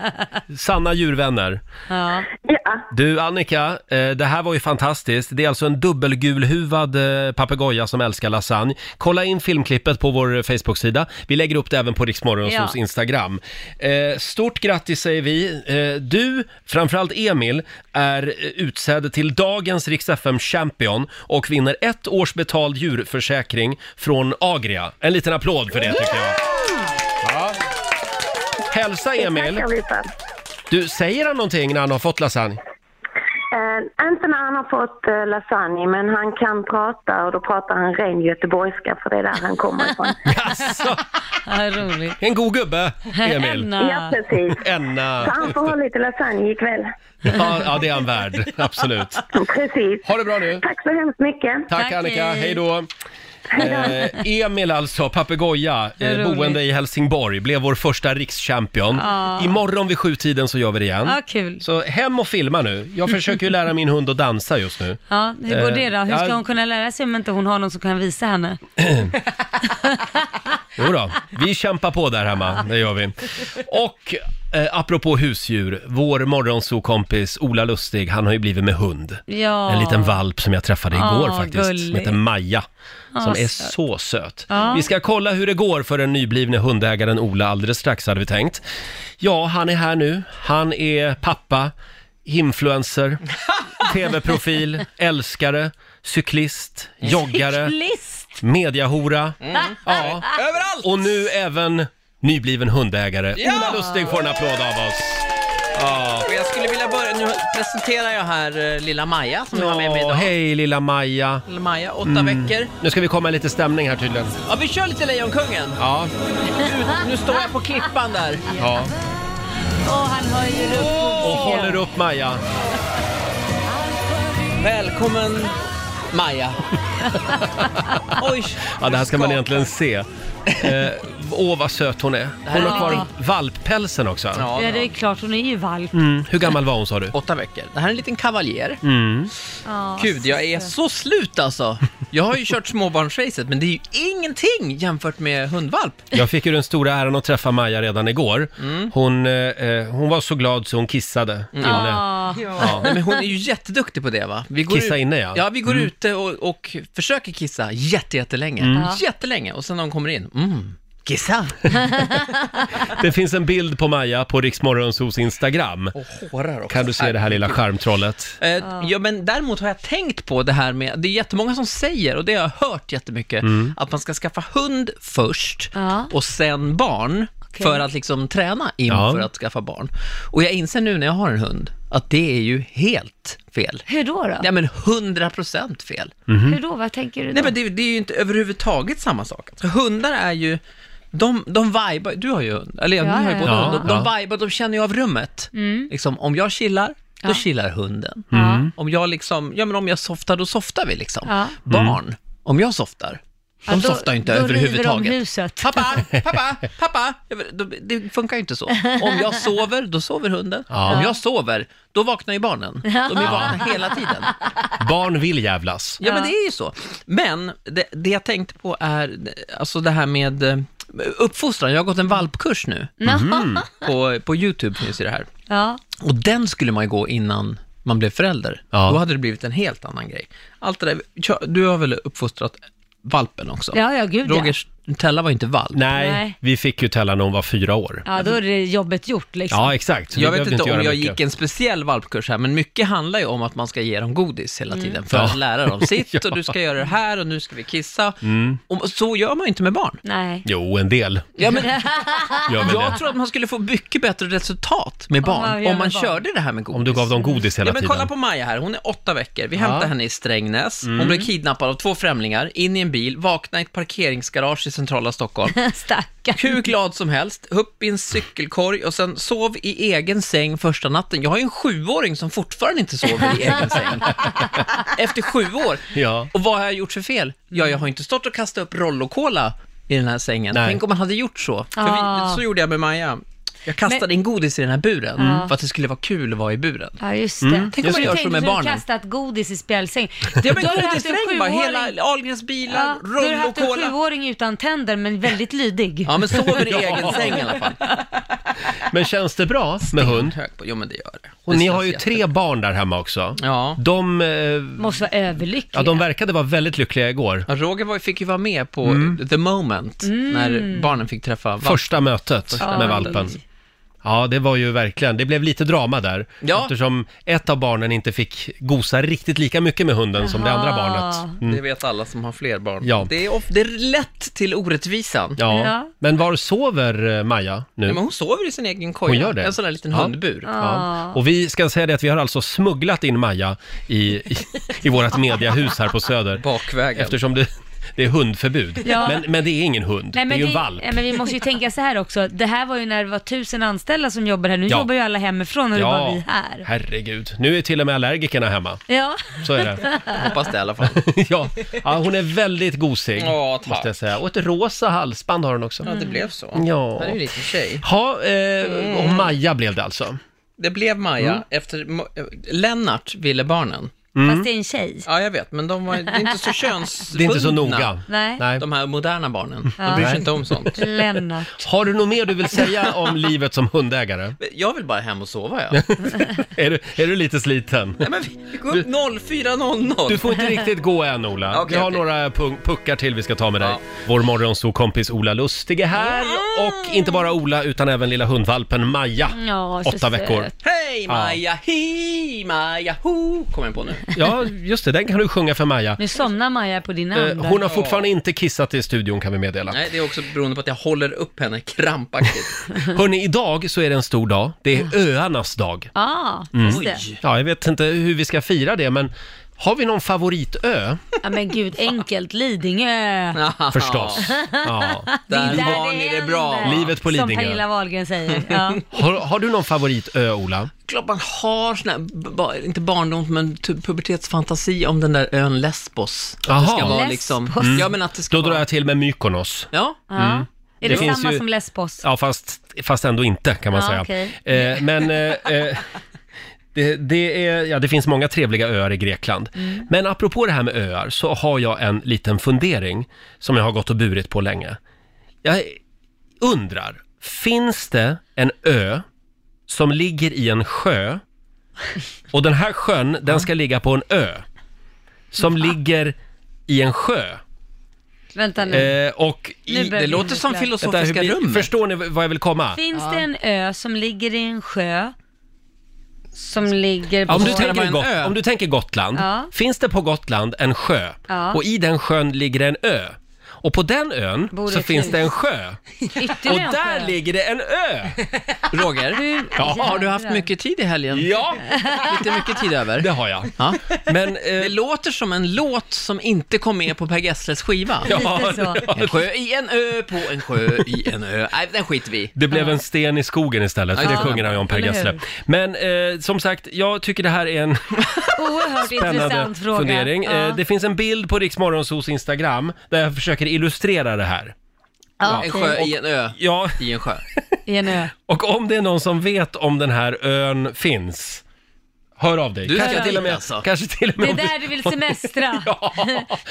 Sanna djurvänner. Ja. Ja, Du Annika, eh, det här var ju fantastiskt. Det är alltså en dubbelgulhuvad eh, papegoja som älskar lasagne. Kolla in filmklippet på vår eh, Facebook-sida. Vi lägger upp det även på Riksmorgons Ja. Instagram. Eh, Stort grattis säger vi. Eh, Du, framförallt Emil, är eh, utsedd till dagens Rix FM Champion och vinner ett års betald djurförsäkring från Agria. En liten applåd för det tycker jag. Ja. Hälsa Emil. tackar vi för. Du, säger han någonting när han har fått lasagne? Eh, inte när han har fått eh, lasagne, men han kan prata och då pratar han ren göteborgska för det är där han kommer ifrån. Alltså. Ja, roligt. En god gubbe, Emil. Ah. ja, Emma. precis. Enna. Så han får ha lite lasagne ikväll. Ja, ja, det är han värd. Absolut. Precis. Ha det bra nu. Tack så hemskt mycket. Tack, Tack, Annika. hej. Hej då. Eh, Emil alltså, papegoja, Vad eh, roligt. boende i Helsingborg, blev vår första rikschampion. Ja. Imorgon vid sjutiden så gör vi det igen. Ja, kul. Så hem och filma nu. Jag försöker ju lära min hund att dansa just nu. Ja, hur går Eh, det då? Hur ja. ska hon kunna lära sig om inte hon har någon som kan visa henne? Jo då, vi kämpar på där hemma, det gör vi. Och eh, apropå husdjur, vår morgonsokompis Ola Lustig, han har ju blivit med hund. Ja. En liten valp som jag träffade igår Ah, faktiskt, som gullig. heter Maja. Som Ah, är söt. så söt. Ja. Vi ska kolla hur det går för den nyblivne hundägaren Ola alldeles strax hade vi tänkt. Ja, han är här nu. Han är pappa, influencer, tv-profil, älskare, cyklist, joggare, List! mediahora. Mm. Ja. Överallt! Och nu även nybliven hundägare. Ola Lustig får en applåd av oss. Ja. Och jag skulle vilja börja, nu presenterar jag här eh, lilla Maja som vi har med mig Ja, idag. hej lilla Maja. Mm. Lilla Maja, åtta veckor. Nu ska vi komma i lite stämning här tydligen. Ja, vi kör lite Lejonkungen. Ja, Nu står jag på klippan där. ja. Och han höjer upp Och foten. håller upp Maja. Välkommen Maja. Oj, Ja, det här ska man skakar. egentligen se. Eh, Åh, vad söt hon är. Hon har kvar valppälsen också. Ja, Ja, det är klart, hon är ju valp. Mm. Hur gammal var hon sa du? Åtta veckor. Det här är en liten kavaljer. Ja, Gud, jag är så slut alltså. Jag har ju kört småbarnsracet, men det är ju ingenting jämfört med hundvalp. Jag fick ju den stora äran att träffa Maja redan igår. Mm. Hon, eh, eh, hon var så glad så hon kissade inne. Ja. Nej, men hon är ju jätteduktig på det va? Vi går Kissa ut- inne, ja. Ja, vi går ute och, och försöker kissa jätte, jättelänge. Jättelänge. Och sen när hon kommer in, mm, kissa. Det finns en bild på Maja på Riksmorgonsos Instagram. Och hårar också. Kan du se det här lilla skärmtrollet? Eh, Ja, men däremot har jag tänkt på det här med, det är jättemånga som säger, och det har jag hört jättemycket, att man ska skaffa hund först Ja. och sen barn Okej. för att liksom träna inför Ja. att skaffa barn. Och jag inser nu när jag har en hund att det är ju helt fel. Hur då? då? Ja men 100% fel. Hur då? Vad tänker du då? Mm-hmm. Nej men det, det är ju inte överhuvudtaget samma sak. Alltså, hundar är ju, de, de vibar, du har ju hund, eller ja, Ja, ni har ju ja, Mm. båda ja. hund. De, de Ja. vibar, de känner ju av rummet. Liksom, om jag chillar, då chillar hunden. Mm. Om jag liksom, ja men om jag softar, då softar vi liksom. Ja. Barn, om jag softar, de Ja, då- softar ju inte då river de överhuvudtaget. huset. Pappa, pappa, pappa! Jag vet, då- Det funkar ju inte så. Om jag sover, då sover hunden. Ja. Om jag sover, då vaknar ju barnen. De är vakna hela tiden. Barn vill jävlas. Ja, men det är ju så. Men det, det jag tänkte på är alltså det här med eh, uppfostran. Jag har gått en valpkurs nu. Mm-hmm. På, på YouTube finns ju det här. Ja. Och den skulle man ju gå innan man blev förälder. Ja. Då hade det blivit en helt annan grej. Allt det där, kör- du har väl uppfostrat valpen också? Ja, ja, gud, ja. Rogers Tella var ju inte valp. Nej, Nej. vi fick ju Tella när hon var fyra år. ja, då är det jobbet gjort liksom. Ja, exakt. Vi Jag vet behövde inte, om göra jag mycket. gick en speciell valpkurs här, men mycket handlar ju om att man ska ge dem godis Mm. hela tiden för att Ja. Mm. lära dem sitt och du ska göra det här och nu ska vi kissa. Och så gör man ju inte med barn. Nej. Jo, en del Ja, men gör väl Jag det. tror att man skulle få mycket bättre resultat med barn man om gör man, med barn. körde det här med godis. Om du gav dem godis hela ja, men tiden. kolla på Maja här, hon är åtta veckor. Vi hämtade henne i Strängnäs. Mm. Hon blev kidnappad av två främlingar, in i en bil, vaknade i ett parkeringsgarage i centrala Stockholm. Stackarn. Hur glad som helst, upp i en cykelkorg och sen sov i egen säng första natten. Jag har ju en sjuåring som fortfarande inte sover i egen säng. Efter sju år. Ja. Och vad har jag gjort för fel? Ja, jag har inte stått och kastat upp Rollo-cola i den här sängen. Nej. Tänk om man hade gjort så. För Ah. vi, så gjorde jag med Maja. Jag kastade in godis i den här buren för att det skulle vara kul att vara i buren. Ah. Ja, just det. Mm. Tänk om man Du gör så tänkte med att Du barnen. kastat godis i spjälsäng. Ja, men Då har du haft en godisdräng bara, sjuåring- hela Ahlgrens bilar, Ja, du har haft en Rollo-cola. sjuåring utan tänder men väldigt lydig. Ja, men sover i egen säng i alla fall. Men känns det bra med hund? Hög på. Jo, men det gör det. Och det ni känns har ju jättebra. tre barn där hemma också. Ja. De, eh, Måste vara överlycklig. ja, de verkade vara väldigt lyckliga igår. Ja, Roger var, fick ju vara med på Mm. the moment när barnen fick träffa valp. Första mötet med mötet. valpen. Ja, det var ju verkligen, det blev lite drama där. Ja. Eftersom ett av barnen inte fick gosa riktigt lika mycket med hunden som det andra Jaha. barnet. Det vet alla som har fler barn. Ja. Det, är of, det är lätt till orättvisan. Ja. Ja. Men var sover eh, Maja nu? Nej, men hon sover i sin egen koja. Hon gör det? En sån där liten Ja. hundbur. Ja. Och vi ska säga det att vi har alltså smugglat in Maja i, i, i vårt mediahus här på Söder. Bakvägen. Eftersom det, det är hundförbud. Ja. Men, men det är ingen hund, Nej, det är men ju en valp. Nej, men vi måste ju tänka så här också. Det här var ju när det var tusen anställda som jobbar här. Nu Ja. jobbar ju alla hemifrån och det är bara vi här. herregud. Nu är till och med allergikerna hemma. Ja. Så är det. Hoppas det i alla fall. ja. ja, hon är väldigt gosig. Ja, tack. Måste jag säga. Och ett rosa halsband har hon också. Ja, det blev så. Mm. Ja. Det är ju en liten tjej. Ha, eh, Mm. och Maja blev det alltså. Det blev Maja Mm. efter... mo- eh, Lennart ville barnen. Fast det är en tjej. Ja, jag vet, men de var det är inte så könsbundna. Det är inte så noga. Nej. De här moderna barnen. De bryr sig Nej. inte om sånt. Lennart. Har du något mer du vill säga om livet som hundägare? Jag vill bara hem och sova, jag. Är du, är du lite sliten? Nej, men vi går upp 04.00. Du får inte riktigt gå än Ola. Okej, vi har okej. några punk- puckar till vi ska ta med dig. Ja. Vår morgonsokompis Ola Lustig är här och inte bara Ola utan även lilla hundvalpen Maja. Ja, så Åtta söt. veckor. Hej Maja, hi Maja, ho, kommer jag på nu. ja, just det, den kan du sjunga för Maja. Nu somnar Maja på din Eh, hand. Hon har fortfarande inte kissat i studion kan vi meddela. Nej, det är också beroende på att jag håller upp henne krampaktigt. Hörni, idag så är det en stor dag. Det är öarnas dag. Ja, Mm. just det. Ja, jag vet inte hur vi ska fira det, men har vi någon favoritö? Ja, men gud, enkelt. Lidingö. Förstås. Ja. Det är Där där har ni det bra, händer. va? Livet på Lidingö. Mm. Som Pernilla Wahlgren säger. Ja. Har, har du någon favoritö, Ola? Klart man har sån här, b- ba- inte barndoms, men tu- pubertetsfantasi om den där ön Lesbos. Att Jaha. Det ska vara Lesbos. liksom, Mm. ja men att det ska Då drar vara... jag till med Mykonos. Ja, Ja. Är det, Det finns samma ju- som Lesbos? Ja, fast, fast ändå inte kan man Ja, säga. okej. Eh, men eh, eh, det, det, är, ja, det finns många trevliga öar i Grekland. Mm. Men apropå det här med öar så har jag en liten fundering som jag har gått och burit på länge. Jag undrar, finns det en ö som ligger i en sjö och den här sjön, den ska ligga på en ö som ligger i en sjö. Vänta nu. Eh, och i, Nu börjar det vi låter som Vänta, utveckla. hur filosofiska blir- rummet. Förstår ni vad jag vill komma? Finns det en ö som ligger i en sjö som ligger på... Ja, Om du, Ska det vara tänker en Got- ö? om du tänker Gotland, Ja. finns det på Gotland en sjö Ja. och i den sjön ligger en ö. Och på den ön Bor så ett finns hus. det en sjö. Och Ytterligare en sjö. där ligger det en ö! Roger, Hur- Ja, har du haft mycket tid i helgen? Ja, Lite mycket tid över? det har jag. Ja. Men... Eh, Det låter som en låt som inte kom med på Per Gessles skiva. ja, så. En sjö i en ö, på en sjö i en ö. Nej, den skiter vi i. det blev en sten i skogen istället, för Ja. det sjunger han ju om Per Eller hur? Gessle. Men eh, som sagt, jag tycker det här är en Oerhört spännande intressant fråga. fundering. Ja. Eh, det finns en bild på Riksmorgonsos Instagram där jag försöker illustrera det här. ja, En okej. sjö i en ö, Ja, i en sjö. I en ö. Och om det är någon som vet om den här ön finns, hör av dig. Du ska kanske, till och dit med, alltså. kanske till och med Det är om där du vill semestra. Ja.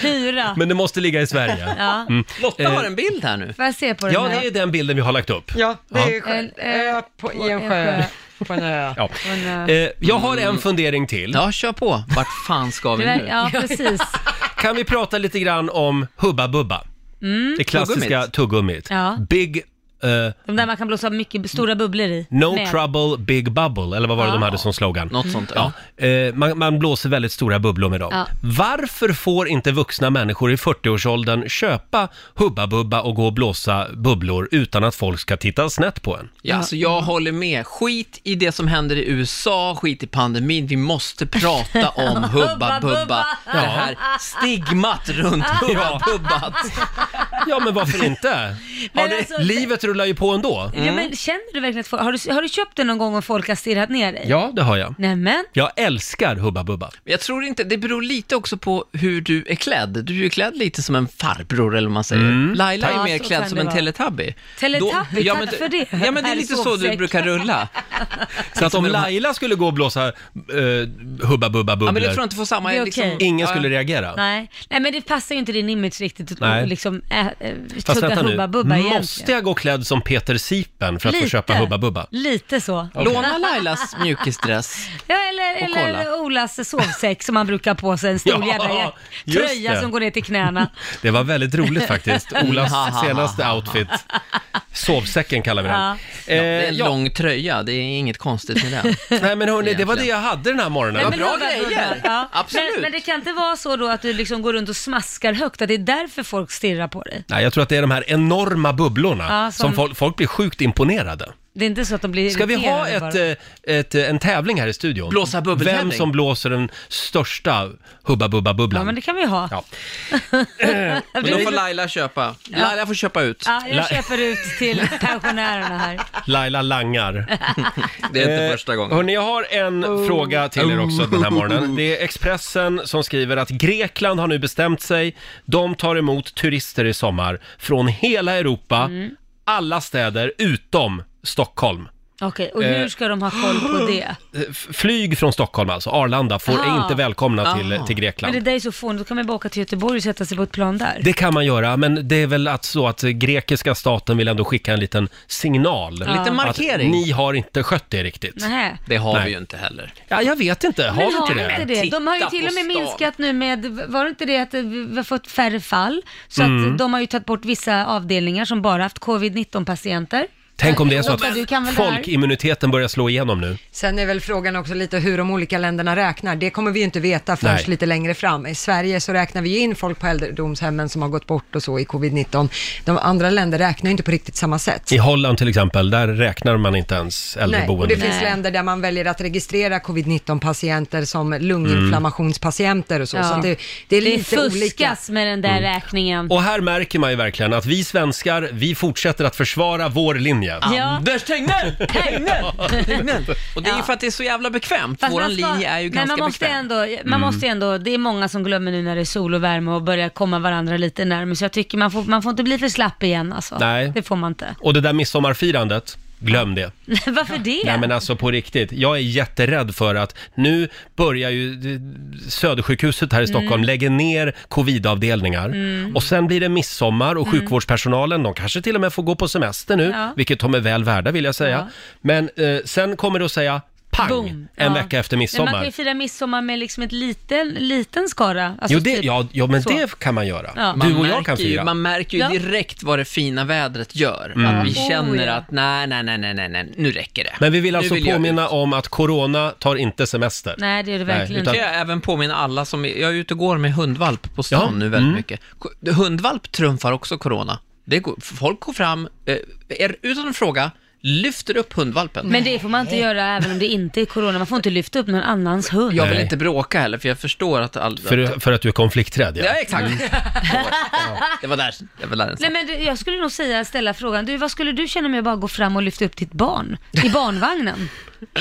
Hyra. Men det måste ligga i Sverige. Mm. Ja. Lotta Eh. har en bild här nu. Får jag se på den Ja, här? det är den bilden vi har lagt upp. Ja, det är En skönt. ö Ö på, på i en en sjö. På en ö. Ja. Men, eh, Eh, jag har en fundering till. Mm. Ja, kör på. Vart fan ska vi tyvärr- nu? Ja, precis. Kan vi prata lite grann om Hubba Bubba? Det klassiska Tuggummit. tuggummit. Mm. Ja. Big... eh, De där man kan blåsa mycket stora bubblor i. no Med. trouble, big bubble, eller vad var det de Ja. hade som slogan? Något sånt, ja. Eh, man, man blåser väldigt stora bubblor med dem. Ja. Varför får inte vuxna människor i 40-årsåldern köpa Hubba Bubba och gå och blåsa bubblor utan att folk ska titta snett på en? Ja, alltså jag håller med. Skit i det som händer i USA, skit i pandemin. Vi måste prata om Hubba Hubba Bubba. Bubba. Det här stigmat runt Hubba Bubbat. Ja, men varför inte? Men Har det, alltså- livet rullar ju på ändå. Ja, men känner du verkligen att folk, har, du, har du köpt den någon gång och folk har stirrat ner dig? Ja, det har jag. Nämen. Jag älskar Hubba Bubba. Men Jag tror inte, det beror lite också på hur du är klädd. Du är ju klädd lite som en farbror eller vad man säger. Laila Ja, är mer så klädd kan som det en vara. teletubby. Teletubby, Då- tack för det. Ja, men det är Herr lite så du sovsäck. brukar rulla. Så att om Som de här- Laila skulle gå och blåsa eh, Hubba Bubba Ja, men jag tror bubblor, inte får samma... Det är liksom, okej. ingen Ja, skulle reagera. Nej. Nej, men det passar ju inte din image riktigt att Nej. liksom äh, äh, Fast tugga vänta nu, Hubba Bubba måste jag gå klädd som Peter Sipen för att få Lite. köpa Hubba Bubba? Lite så. Låna Lailas mjukisdress. Ja, eller, eller kolla. Olas sovsäck som han brukar ha på sig, en stor Ja, jädra jä- just det. tröja som går ner till knäna. Det var väldigt roligt faktiskt. Olas Mm. senaste outfit. Sovsäcken kallar vi den. Ja. Eh, Det är en ja. lång tröja, det är inget konstigt med den. Nej men hörni, det var det Egentligen. jag hade den här morgonen. Nej, Vad men bra. Hubba Bubba, grejer. ja. Absolut. Men, men det kan inte vara så då att du liksom går runt och smaskar högt, att det är därför folk stirrar på dig. Nej, jag tror att det är de här enorma bubblorna Ja, som, som- folk, folk blir sjukt imponerade. Det är inte så att de blir Ska vi ha irriterade ett, bara. eh, ett, eh, en tävling här i studion? Blåsa bubbeltävling. Vem som blåser den största Hubba Bubba Ja, Bubblan? men det kan vi ha. Ja. Men då får Laila köpa. Laila får köpa ut. Ja, jag La- köper ut till pensionärerna här. Laila langar. Det är inte Eh, första gången. Hörni, jag har en fråga till er också den här morgonen. Det är Expressen som skriver att Grekland har nu bestämt sig. De tar emot turister i sommar från hela Europa, Mm. alla städer utom Stockholm. Okej, och hur ska de ha koll på det? Eh, f- Flyg från Stockholm alltså, Arlanda, får är Ah. inte välkomna till, Ah. till Men Grekland. det Det... där är så fånigt, då kan man ju bara åka till Göteborg och sätta sig på ett plan där. kan man göra, men det är väl att så att grekiska staten vill ändå skicka en liten signal. Lite markering. Att ni har inte skött det riktigt. Nej. Det har Nej. vi ju inte heller. Ja, jag vet inte. Har Men vi har inte de det? inte det? De har ju Titta till och med på stan. minskat nu med, var det inte det att vi har fått färre fall? Så att de har ju tagit bort vissa avdelningar som bara haft covid-19 patienter. Tänk om det är så Lotta, du kan att väl det här? folkimmuniteten börjar slå igenom nu. Sen är väl frågan också lite hur de olika länderna räknar. Det kommer vi ju inte veta förrän Nej. lite längre fram. I Sverige så räknar vi ju in folk på äldredomshemmen som har gått bort och så i covid-19. De andra länder räknar ju inte på riktigt samma sätt. I Holland till exempel, där räknar man inte ens Nej, och äldreboende. det finns länder där man väljer att registrera covid-19-patienter som lunginflammationspatienter och så. Ja. så att det, det är Det lite fuskas olika. med den där räkningen. Och här märker man ju verkligen att vi svenskar, vi fortsätter att försvara vår linje. Ja. Anders Tegnell! Tegnell! Tegnell! Och det är ju Ja. för att det är så jävla bekvämt. Fast Vår man ska- linje är ju men ganska man måste bekväm. ändå, Man måste ju ändå, det är många som glömmer nu när det är sol och värme och börjar komma varandra lite närmare. Så jag tycker man får, man får inte bli för slapp igen alltså. Nej. Det får man inte. Och det där midsommarfirandet, glöm det. Varför det? Nej men alltså på riktigt, jag är jätterädd för att nu börjar ju eh, Södersjukhuset här i Stockholm Mm. lägger ner covidavdelningar och sen blir det midsommar och sjukvårdspersonalen, de kanske till och med får gå på semester nu, Mm. Ja. vilket de är väl värda vill jag säga. Ja. Men eh, sen kommer det att säga pang Boom. en Ja. vecka efter Men man midsommar. kan ju fira midsommar med liksom ett liten, liten skara. Alltså Jo, det, typ- ja, ja, men så. det kan man göra. Ja. Du och jag Man märker kan fira. Mm. Ju, man märker ju Ja. direkt vad det fina vädret gör. Att vi Oh, känner ja. att nej, nej, nej, nej, nej, nej, nu räcker det. Men vi vill Nu alltså jag påminna ut. om att corona tar inte semester. Nej, det är det Nej, verkligen utan- inte. Kan jag även påminna alla som, jag är ute och går med hundvalp på stan Ja, nu väldigt mm. mycket. Ko- Hundvalp trumfar också corona. Det går, folk går fram, eh, är, utan att fråga, lyfter upp hundvalpen. Men det får man inte göra även om det inte är corona. Man får inte lyfta upp någon annans hund. jag vill Nej. inte bråka heller, för jag förstår att all... För, Mm. för att du är konflikträdd ja. Ja, exakt. Det var där, det var där den satt. Nej men du, jag skulle nog säga, ställa frågan, du vad skulle du känna om jag bara går fram och lyfter upp ditt barn i barnvagnen?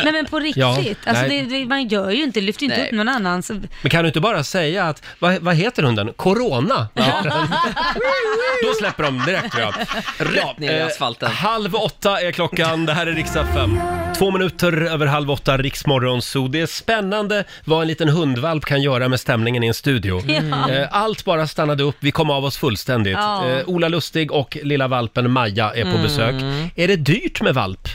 nej men på riktigt, Ja, alltså, nej. det, det, man gör ju inte, lyfter inte Nej. upp någon annans. Men kan du inte bara säga att, vad, vad heter hunden? Corona? Då släpper de direkt tror jag. Rätt ner i Eh, asfalten. halv åtta är klockan, det här är riksdag 5. Två minuter över halv åtta, Riksmorgon så Det är spännande vad en liten hundvalp kan göra med stämningen i en studio. Ja. Eh, Allt bara stannade upp, vi kom av oss fullständigt. Ja. Eh, Ola Lustig och lilla valpen Maja är på Mm. besök. Är det dyrt med valp?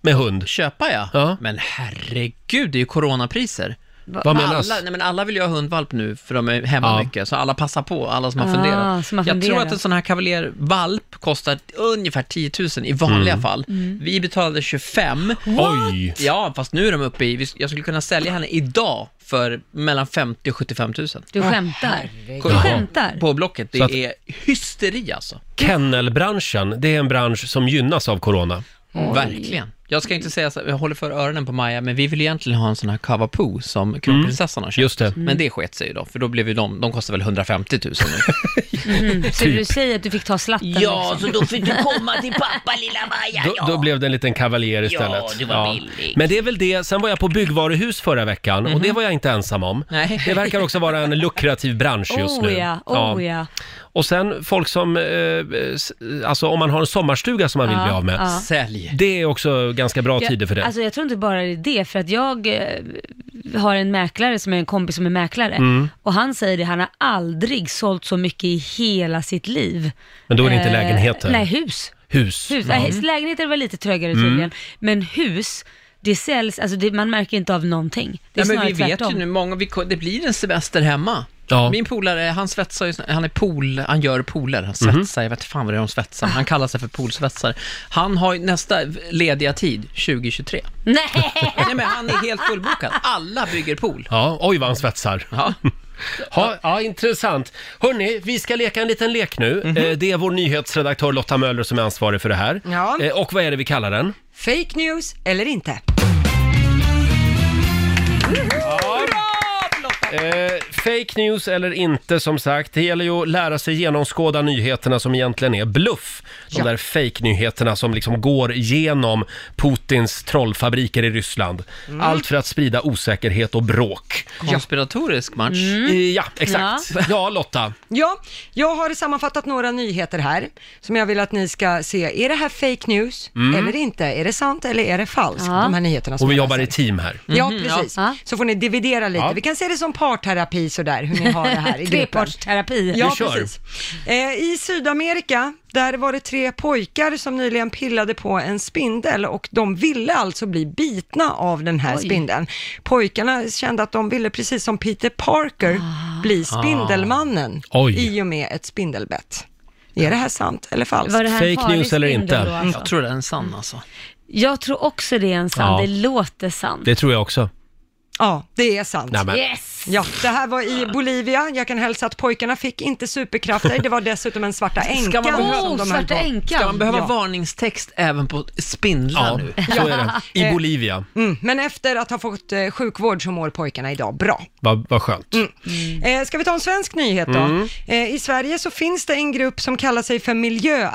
Med hund? Köpa ja. Ja. Men herregud, det är ju coronapriser. Vad menas? Alla, nej men alla vill ju ha hundvalp nu, för de är hemma Ja. mycket, så alla passar på, alla som har Ah, funderat. som har jag tror funderat. att en sån här kavaljervalp kostar ungefär 10 000 i vanliga fall. Vi betalade 25. Oj! Ja, fast nu är de uppe i, jag skulle kunna sälja henne idag för mellan 50 000 och 75 000. Du skämtar. Du Jaha. skämtar. På Blocket, det Så att- är hysteri alltså. Kennelbranschen, det är en bransch som gynnas av corona. Verkligen. Jag ska inte säga så, jag håller för öronen på Maja, men vi vill egentligen ha en sån här Cavapoo som kronprinsessan har köpt. Mm. Just Mm. det. Men det sket sig ju då, för då blev ju de, de kostar väl 150 000 nu. Så typ- du säger att du fick ta slatten liksom. också. då fick du komma till pappa lilla Maja. Då, då blev det en liten kavaljer istället. det var billigt. Men det är väl det, sen var jag på byggvaruhus förra veckan och det Mhm. var jag inte ensam om. Nej. Det verkar också vara en lukrativ bransch just nu. Oh ja, oh ja. Och sen folk som, eh, s- alltså om man har en sommarstuga som man vill Ja, bli av med. ja. Sälj. Det är också ganska bra Jag- tider för det. Alltså jag tror inte bara det är det, för att jag eh, har en mäklare som är en kompis som är mäklare Mm. och han säger det, han har aldrig sålt så mycket i hela sitt liv. Men då är det inte Eh, lägenheter. Mm. Nej, hus. Hus. hus. Nej, Lägenheter var lite trögare tydligen, men hus, det säljs, alltså det, man märker inte av någonting. Det är Ja, men snarare vi vet tvärtom. ju nu, många, vi, ko- det blir en semester hemma. Ja. Min polare, han svetsar ju, han är pool, han gör pooler, han Mhm. svetsar, jag vet fan vad det är de svetsar, han kallar sig för poolsvetsare. Han har ju nästa lediga tid, 2023. Nej! Nej men han är helt fullbokad, alla bygger pool. Ja, oj vad han svetsar. Ja. Ha, ja, intressant. Hörni, vi ska leka en liten lek nu. Mhm. Eh, Det är vår nyhetsredaktör Lotta Möller som är ansvarig för det här. Ja. Eh, Och vad är det vi kallar den? Fake news eller inte? Eh, fake news eller inte, som sagt. Det gäller ju att lära sig genomskåda nyheterna som egentligen är bluff. De där fake-nyheterna som liksom går genom Putins trollfabriker i Ryssland. Mm. Allt för att sprida osäkerhet och bråk. Konspiratorisk match. Mm. Mm. Eh, Ja, exakt. Ja, Lotta. Ja, jag har sammanfattat några nyheter här som jag vill att ni ska se. Är det här fake news eller inte? Är det sant eller är det falskt? Ja. De här nyheterna som Mm. Och vi jag jobbar läser. i team här. Ja, precis. Mhm, Ja. Så får ni dividera lite. Ja. Vi kan se det som parterapi sådär, hur ni har det här i gruppen. Trepartsterapi. Ja, Vi kör. precis. Eh, I Sydamerika, där var det tre pojkar som nyligen pillade på en spindel och de ville alltså bli bitna av den här spindeln. Pojkarna kände att de ville, precis Ah. som Peter Parker, bli Spindelmannen Ah. Oj. i och med ett spindelbett. Är det här sant eller falskt? Var det här en Fake news farlig eller spindel inte? Då, alltså? Mm. Jag tror det är en sann alltså. Jag tror också det är en sann, Ja. det låter sant. Det tror jag också. Ja, det är sant. Nej, men. Yes! Ja, det här var i Bolivia. Jag kan hälsa att pojkarna fick inte superkrafter. Det var dessutom en svarta änkan man behöva- som Oh, de höll svarta på. änkan. Ska man behöva Ja. varningstext även på spindlar Ja, nu? Eh. så är det. I Bolivia. Mm, men efter att ha fått eh, sjukvård så mår pojkarna idag bra. Vad vad skönt. Mm. Eh, ska vi ta en svensk nyhet då? Eh, I Sverige så finns det en grupp som kallar sig för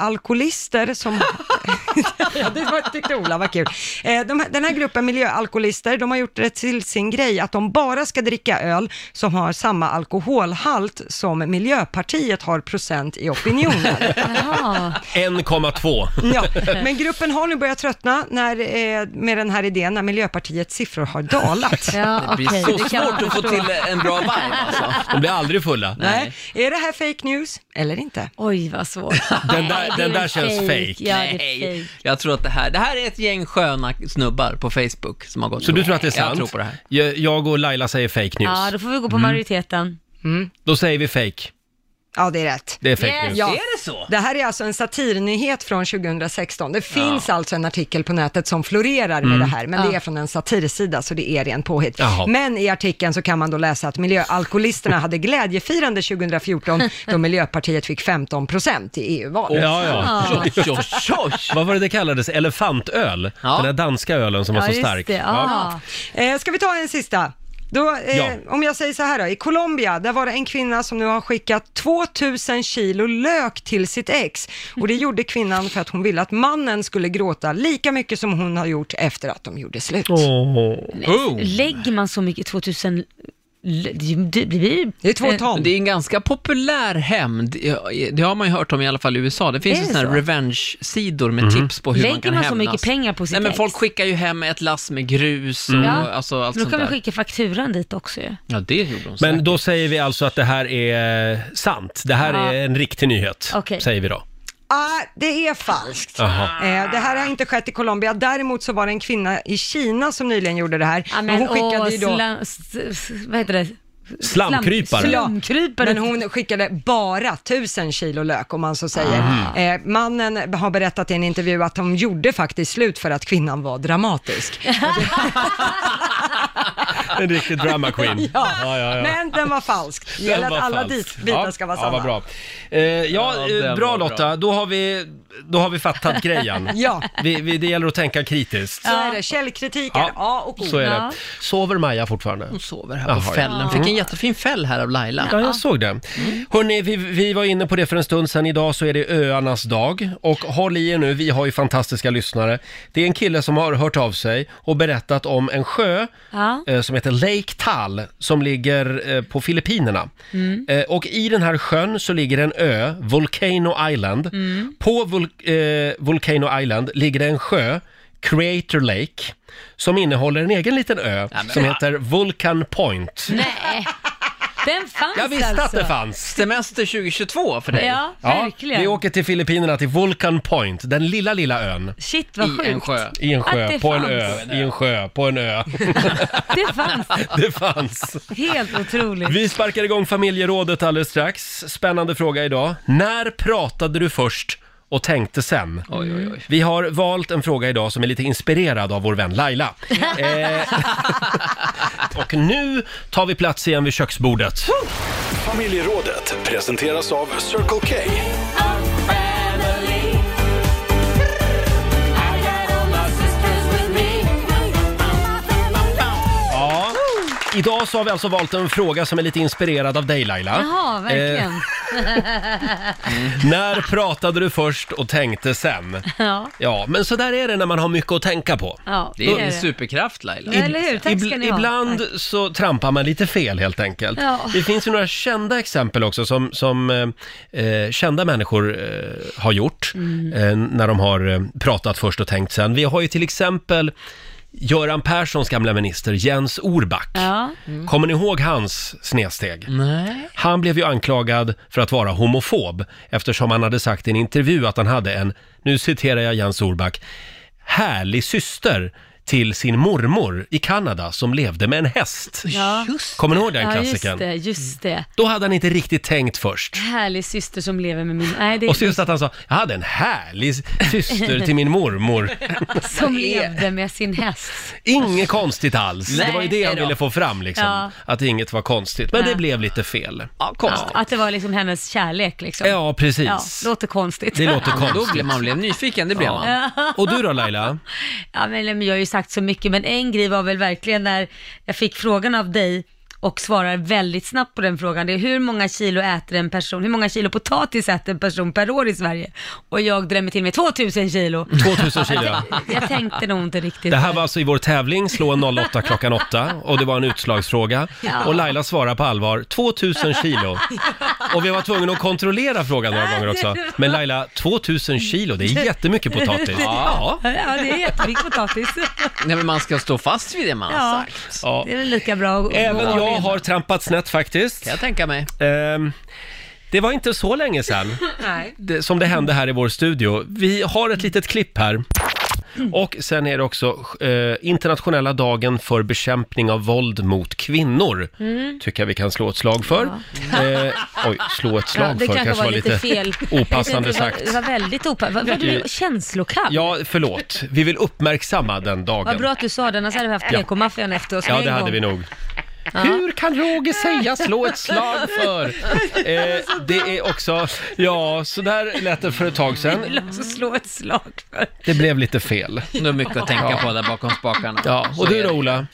miljöalkoholister som... ja, det var, tyckte Ola var kul. Eh, de, här- den här gruppen miljöalkoholister, de har gjort det till sin grej att de bara ska dricka öl som har samma alkoholhalt som Miljöpartiet har procent i opinionen. Jaha. 1,2. Ja, men gruppen har nu börjat tröttna när, eh, med den här idén när Miljöpartiets siffror har dalat. Ja, Det blir okej. så det kan svårt man att få förstå. till en bra vibe alltså. De blir aldrig fulla. Nej. Är det här fake news eller inte? Oj, vad svårt. Den Nej, där, det är den där väl känns fake. Ja, det är Nej, fake. jag tror att det här, det här är ett gäng sköna snubbar på Facebook som har gått Så du tror att det är sant? Jag tror på det här. Jag, jag och Laila säger fake news. Mm. Ja, då får vi gå på majoriteten. Då säger vi fake. Ja, det är rätt. Det är fake Yes. news. Ja. Är det så? Det här är alltså en satirnyhet från 2016. Det finns alltså en artikel på nätet som florerar med det här, men det är från en satirsida så det är ren påhitt. Jaha. Men i artikeln så kan man då läsa att miljöalkoholisterna hade glädjefirande 2014 då Miljöpartiet fick 15 procent i EU-valet. Ja, ja. Oj, oj, oj. Vad var det det kallades? Elefantöl? Ja. Den där danska ölen som var Ja, så just stark. det. Ah. Ja. Eh, ska vi ta en sista? Då, eh, Ja. Om jag säger så här då, i Colombia, där var det en kvinna som nu har skickat 2000 kilo lök till sitt ex och det gjorde kvinnan för att hon ville att mannen skulle gråta lika mycket som hon har gjort efter att de gjorde slut. Oh. Lägger man så mycket, 2000, det det blir ju... Eh, Det är två Men ton. Det är en ganska populär hämnd. Det har man ju hört om i alla fall i USA. Det finns Är ju det sådana här så? revenge-sidor Mhm. med tips på hur Lägger man kan man så hämnas. mycket pengar på sitt Nej, men ex? folk skickar ju hem ett lass med grus och Mm. Ja. alltså, allt Då sånt kan vi där. skicka fakturan dit också ju. Ja, det gjorde de säkert. Men då säger vi alltså att det här är sant. Det här Ja. är en riktig nyhet, Okej. säger vi då. Ah, det är falskt. Jaha. Eh, det här har inte skett i Colombia, däremot så var det en kvinna i Kina som nyligen gjorde det här. Ja, Men hon skickade åh, ju då... slam- s- s- vad heter det? Slamkrypare. Slam- Ja, Slamkrypare. Men hon skickade bara 1000 kilo lök om man så säger. Eh, mannen har berättat i en intervju att de gjorde faktiskt slut för att kvinnan var dramatisk. En riktig drama queen. Ja. Men den var falsk. Det Den gäller att var alla falsk. dit bitar ska vara Ja, sanna. vad bra. Eh, ja, Ja, den eh, bra var bra. Lotta. Då har vi, då har vi fattat grejen. Ja. Vi, vi, det gäller att tänka kritiskt. Så är det. Källkritik är A och O. så är det. Ja. Sover Maja fortfarande? Hon sover här Jaha, på ja. fällen. Fick en jättefin fäll här av Laila. Mm. Ja, jag såg det. Mm. Hörrni, vi, vi var inne på det för en stund sedan. Idag så är det öarnas dag. Och håll i er nu, vi har ju fantastiska lyssnare. Det är en kille som har hört av sig och berättat om en sjö Ja. eh, som heter Lake Tal som ligger eh, på Filippinerna. Mm. Eh, och i den här sjön så ligger en ö, Volcano Island. Mm. På Vol- eh, Volcano Island ligger det en sjö, Creator Lake, som innehåller en egen liten ö men- som heter Vulcan Point. Nej, den fanns Jag visste alltså. att det fanns! Semester 2022 för dig. Ja, verkligen. vi åker till Filippinerna, till Vulcan Point, den lilla, lilla ön. Shit vad I sjukt. en sjö. I en Att sjö, det på en fanns. ö, i en sjö, på en ö. Det fanns. Det fanns. Helt otroligt. Vi sparkar igång familjerådet alldeles strax. Spännande fråga idag. När pratade du först och tänkte sen? Oj, oj, oj. Vi har valt en fråga idag som är lite inspirerad av vår vän Laila. Eh, och nu tar vi plats igen vid köksbordet. Familjerådet presenteras av Circle K. Ja. Idag så har vi alltså valt en fråga som är lite inspirerad av dig Laila. Eh, Jaha, verkligen. När pratade du först och tänkte sen? Ja. Ja, men så där är det när man har mycket att tänka på. ja, Eh, Det är en superkraft Laila. Mm. Ja, eller hur? Tack ska Ibl- ni ha. ibland så trampar man lite fel helt enkelt. Ja. Det finns ju några kända exempel också som, som eh, eh, kända människor eh, har gjort Mm. eh, när de har eh, pratat först och tänkt sen. Vi har ju till exempel Göran Perssons gamla minister Jens Orback. Ja. Kommer ni ihåg hans snedsteg? Nej. Han blev ju anklagad för att vara homofob eftersom han hade sagt i en intervju att han hade en, nu citerar jag Jens Orback, härlig syster till sin mormor i Kanada som levde med en häst. Ja. Kommer ni ihåg den Ja, just klassikern? det, just det. Då hade han inte riktigt tänkt först. Härlig syster som lever med min... Nej, det Och så just att han sa, jag hade en härlig syster till min mormor. som levde med sin häst. Inget konstigt alls. det var ju Nej, det han då. ville få fram liksom. Ja. Att inget var konstigt. Men det Nej. blev lite fel. Ja, Ja, konstigt. att det var liksom hennes kärlek liksom. Ja, Ja, precis. låter konstigt. Det låter Då konstigt. blev man blev nyfiken, det blev man. Och du då Laila? Ja, men men jag har ju sagt så mycket, men en grej var väl verkligen när jag fick frågan av dig och svarar väldigt snabbt på den frågan. Det är hur många kilo äter en person, hur många kilo potatis äter en person per år i Sverige? Och jag drämmer till med 2000 kilo. 2000 kilo. ja. Jag tänkte nog inte riktigt. Det här var alltså i vår tävling, slå en 08 klockan 8 och det var en utslagsfråga. Ja. Och Laila svarade på allvar, 2000 kilo. Och vi var tvungna att kontrollera frågan några gånger också. Men Laila, 2000 kilo, det är jättemycket potatis. Ja. Ja, det är jättemycket potatis. Nej, men man ska stå fast vid det man har Ja. sagt. ja. Det är väl lika bra att Även gå all jag in. har trampat snett faktiskt. Kan jag tänka mig. Ehm, det var inte så länge sedan det, som det hände här i vår studio. Vi har ett litet klipp här. Och sen är det också eh, internationella dagen för bekämpning av våld mot kvinnor. Mm. Tycker jag vi kan slå ett slag för. Eh, oj, slå ett slag Ja, det för kanske kanske var lite fel. opassande det var, sagt. det var väldigt opassande. Var, var du känslokall? Ja, förlåt. Vi vill uppmärksamma den Vad dagen. bra att du sa det, annars hade vi haft PK-maffian efter oss Ja, med det en hade gång. vi nog. Hur kan Roger säga slå ett slag för? Eh, det är också, ja, så där lät det för ett tag Jag sedan. vill också slå ett slag för. Det blev lite fel. Det är mycket att tänka på där bakom spakarna. Ja, Så och du är då det. Ola?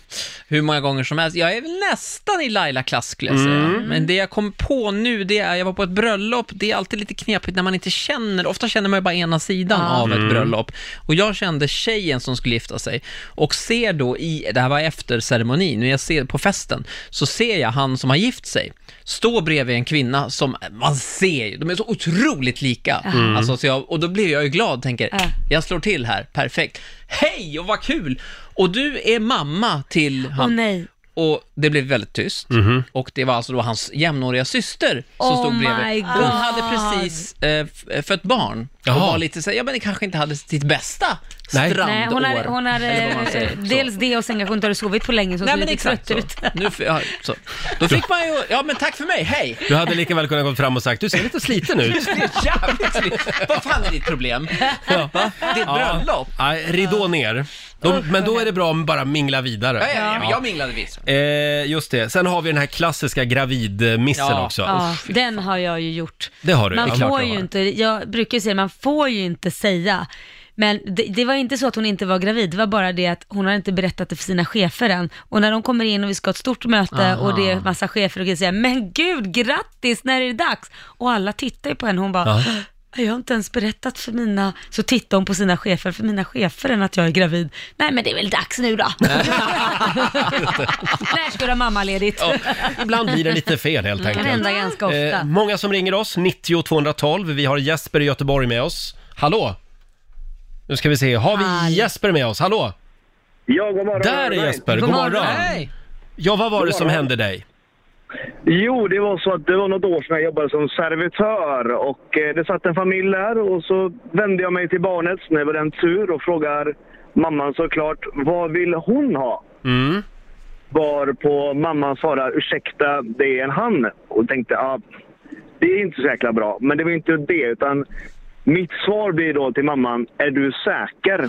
Hur många gånger som helst. Jag är väl nästan i Laila-klass skulle jag säga. Men det jag kom på nu, det är, jag var på ett bröllop, det är alltid lite knepigt när man inte känner, ofta känner man ju bara ena sidan av ett bröllop. Och jag kände tjejen som skulle gifta sig och ser då i, det här var efter ceremonin, när jag ser på festen, så ser jag han som har gift sig stå bredvid en kvinna som, man ser ju, de är så otroligt lika. Alltså, så jag, och då blir jag ju glad, tänker, Ja. jag slår till här, perfekt. Hej och vad kul! Och du är mamma till Åh han. nej. Och det blev väldigt tyst. Mhm. Och det var alltså då hans jämnåriga syster som Oh stod bredvid. my Hon God. hade precis eh, f- fött barn. Jaha. Och var lite så här, ja men det kanske inte hade sitt bästa Nej. strandår. Nej, hon hade, hon eller vad man hade säger. eh, Så. dels det och sen kanske hon inte hade sovit på länge så hon Nej såg men lite exakt trött så. ut. Nu, f- ja, så. Då fick man ju, ja men tack för mig, hej! Du hade lika väl kunnat gå fram och sagt, du ser lite sliten ut. Det är jävligt trevligt. Vad fan är ditt problem? Ja. Va? Det är ett bröllop. Nej, ridå ner. Då, men då är det bra om bara mingla vidare. Ja, ja, ja, men jag minglade visst. Eh, just det, sen har vi den här klassiska gravidmissen Ja. också. Ja, den har jag ju gjort. Det har du, man det är klart får du ju har. inte, jag brukar ju säga man får ju inte säga. Men det, det var inte så att hon inte var gravid, det var bara det att hon hade inte berättat det för sina chefer än. Och när de kommer in och vi ska ha ett stort möte och det är massa chefer och grejer, säger men gud, grattis, när är det dags? Och alla tittar ju på henne, hon bara, "Äh, Ja. jag har inte ens berättat för mina, så tittar hon på sina chefer, för mina chefer än att jag är gravid. Nej men det är väl dags nu då. när ska du ha mammaledigt? Ibland blir det lite fel helt Det Mm. kan enkelt. hända ganska ofta. Eh, många som ringer oss, 90 212. Vi har Jesper i Göteborg med oss. Hallå! Nu ska vi se, har vi Hallå. Jesper med oss? Hallå! Ja, god morgon. Där är Nej. Jesper, god God morgon! morgon. Hej! Ja, vad var det God som morgon. hände dig? Jo, det var så att det var något år sedan jag jobbade som servitör och eh, det satt en familj där och så vände jag mig till barnet när det var den tur och frågar mamman såklart, vad vill hon ha? Mm. Var på mamman svarar, ursäkta, det är en han. Och tänkte, ja, det är inte så jäkla bra. Men det var inte det, utan mitt svar blir då till mamman, är du säker?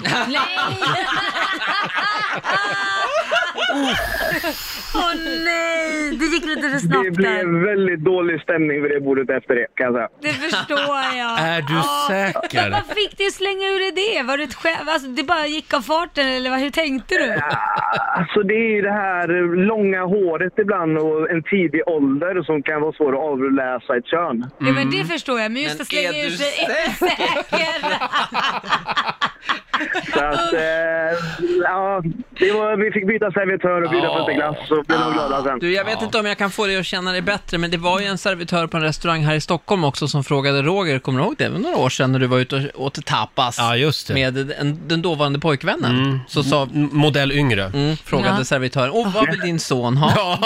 Åh nej, det gick lite för Det snabbt blev där. väldigt dålig stämning vid det bordet efter det, kan jag säga. Det förstår jag. Är du Ja. Men säker? Vad fick du slänga ur dig det? Var det ett skämt? Alltså, det bara gick av farten eller vad, hur tänkte du? Alltså det är ju det här eh, långa håret ibland och en tidig ålder som kan vara svår att avläsa ett kön. Ja, men Mm. det förstår jag, men just Men att slänga är ur du sig är du säker. Så att, eh, ja, det var, vi fick byta servitör och bjuda på lite glass så blev de glada sen. Du, jag vet inte om jag kan få dig att känna dig bättre, men det var ju en servitör på en restaurang här i Stockholm också som frågade Roger, kommer du ihåg det? Det var några år sedan när du var ute och åt tapas Ja, just det. Mm. med en, den dåvarande pojkvännen. Så sa, M- Modell yngre. mm, frågade Ja. servitören, åh, vad vill din son ha? Ja,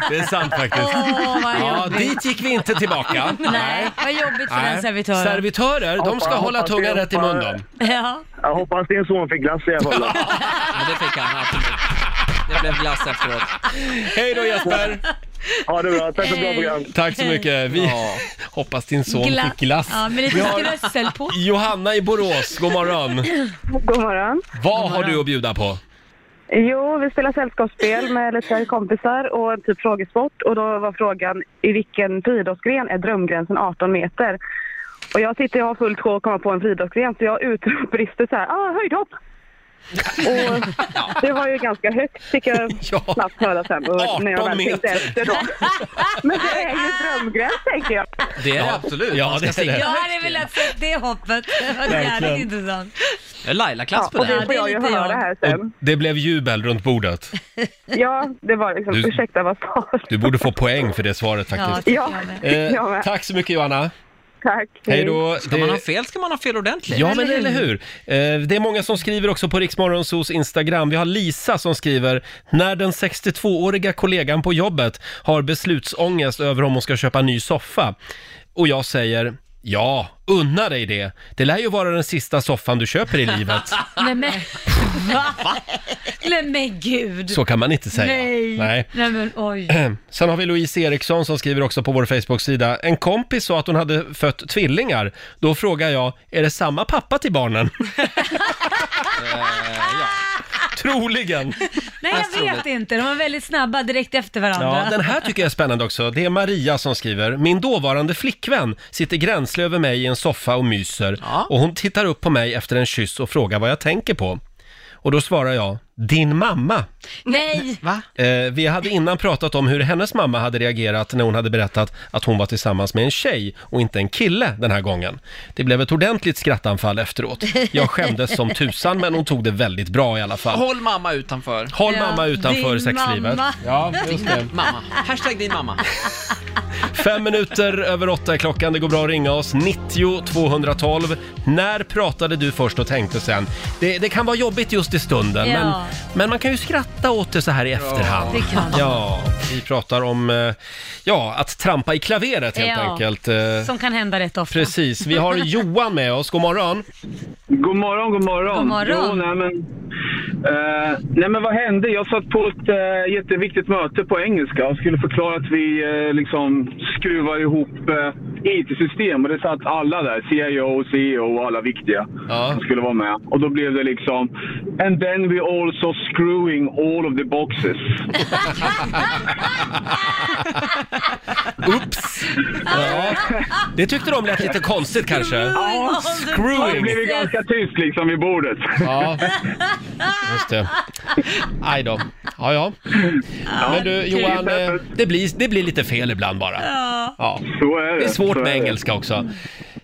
det är sant faktiskt. Åh, vad Ja, jobbigt. dit gick vi inte tillbaka. Nej, vad jobbigt för den Nej. servitören. Servitörer, de ska Hoppa, hålla hoppa, tungan hoppa. rätt i mun de. Ja. Jag hoppas din son fick glass i alla fall. Men det fick han absolut. Det blev glass efteråt. Hej då Jesper! Ha det bra. Tack för ett bra program. Tack så mycket. Vi Ja. hoppas din son Gla- fick glass. Ja, med lite strössel på. Johanna i Borås, god morgon. God morgon. Vad har du att bjuda på? Jo, vi spelar sällskapsspel med lite kompisar och en typ frågesport. Och då var frågan i vilken friidrottsgren är drömgränsen 18 meter? Och jag sitter och har fullt sjå att komma på en friidrottsgren så jag utbrister så här, ah, höjdhopp! Och det var ju ganska högt fick jag Ja. snabbt höra sen. Och när jag 18 väl tänkte meter. efter då. Men det är ju drömgräns tänker jag. Det är det Ja, absolut. ja, Man ska det är se- det. Jag hade velat se det hoppet. Det var Verkligen. jävligt intressant. Det är Laila-klass på Och det. det Ja, får jag ju lite jag. höra här Och sen. det blev jubel runt bordet. Ja, det var liksom, Du- ursäkta vad sa Du borde få poäng för det svaret Ja, faktiskt. tycker Ja. jag med. jag Eh, med. tack så mycket Johanna. Tack. Hej då. Ska man ha fel ska man ha fel ordentligt. Ja, men eller hur? Eh, Det är många som skriver också på Riksmorgonsos Instagram. Vi har Lisa som skriver, när den 62-åriga kollegan på jobbet har beslutsångest över om hon ska köpa ny soffa. Och jag säger, ja, unna dig det. Det lär ju vara den sista soffan du köper i livet. Nej men, va? Nej men gud. Så kan man inte säga. Nej. Nej. Ehm, Nej men oj. Sen har vi Louise Eriksson som skriver också på vår Facebook-sida. En kompis sa att hon hade fött tvillingar. Då frågar jag, är det samma pappa till barnen? Eh, Troligen. Nej jag vet inte, de var väldigt snabba direkt efter Ja, varandra. den här tycker jag är spännande också. Det är Maria som skriver. Min dåvarande flickvän sitter gränsle över mig i en soffa och myser. Ja. Och hon tittar upp på mig efter en kyss och frågar vad jag tänker på. Och då svarar jag, din mamma. Nej! Va? Eh, vi hade innan pratat om hur hennes mamma hade reagerat när hon hade berättat att hon var tillsammans med en tjej och inte en kille den här gången. Det blev ett ordentligt skrattanfall efteråt. Jag skämdes som tusan men hon tog det väldigt bra i alla fall. Håll mamma utanför. Håll Ja, mamma utanför din sexlivet. mamma. Ja, just det. Mamma. Hashtag din mamma. Fem minuter över åtta är klockan. Det går bra att ringa oss. 90 212. När pratade du först och tänkte sen? Det, det kan vara jobbigt just i stunden, Ja. men, men man kan ju skratta åt det så här i efterhand. det kan man. Ja, vi pratar om eh, ja, att trampa i klaveret helt Ja. enkelt. Eh, Som kan hända rätt ofta. Precis. Vi har Johan med oss. God morgon. God morgon, god morgon. God morgon. Jo, nej, men, eh, nej men vad hände? Jag satt på ett eh, jätteviktigt möte på engelska och skulle förklara att vi eh, liksom skruvar ihop eh, IT-system och det satt alla där. CIO, CEO E och alla viktiga Ja. som skulle vara med. Och då blev det liksom And then we also screwing all of the boxes. Oops! Ja. Det tyckte de lät lite konstigt kanske. Ja, Ja, det Screwing. blev ju ganska tyst liksom vid bordet. Ja, just det. Aj då. Ja, ja. Men du Johan, eh, det blir, det blir lite fel ibland bara. Ja. Så är det. Det är svårt Så med är det. engelska också.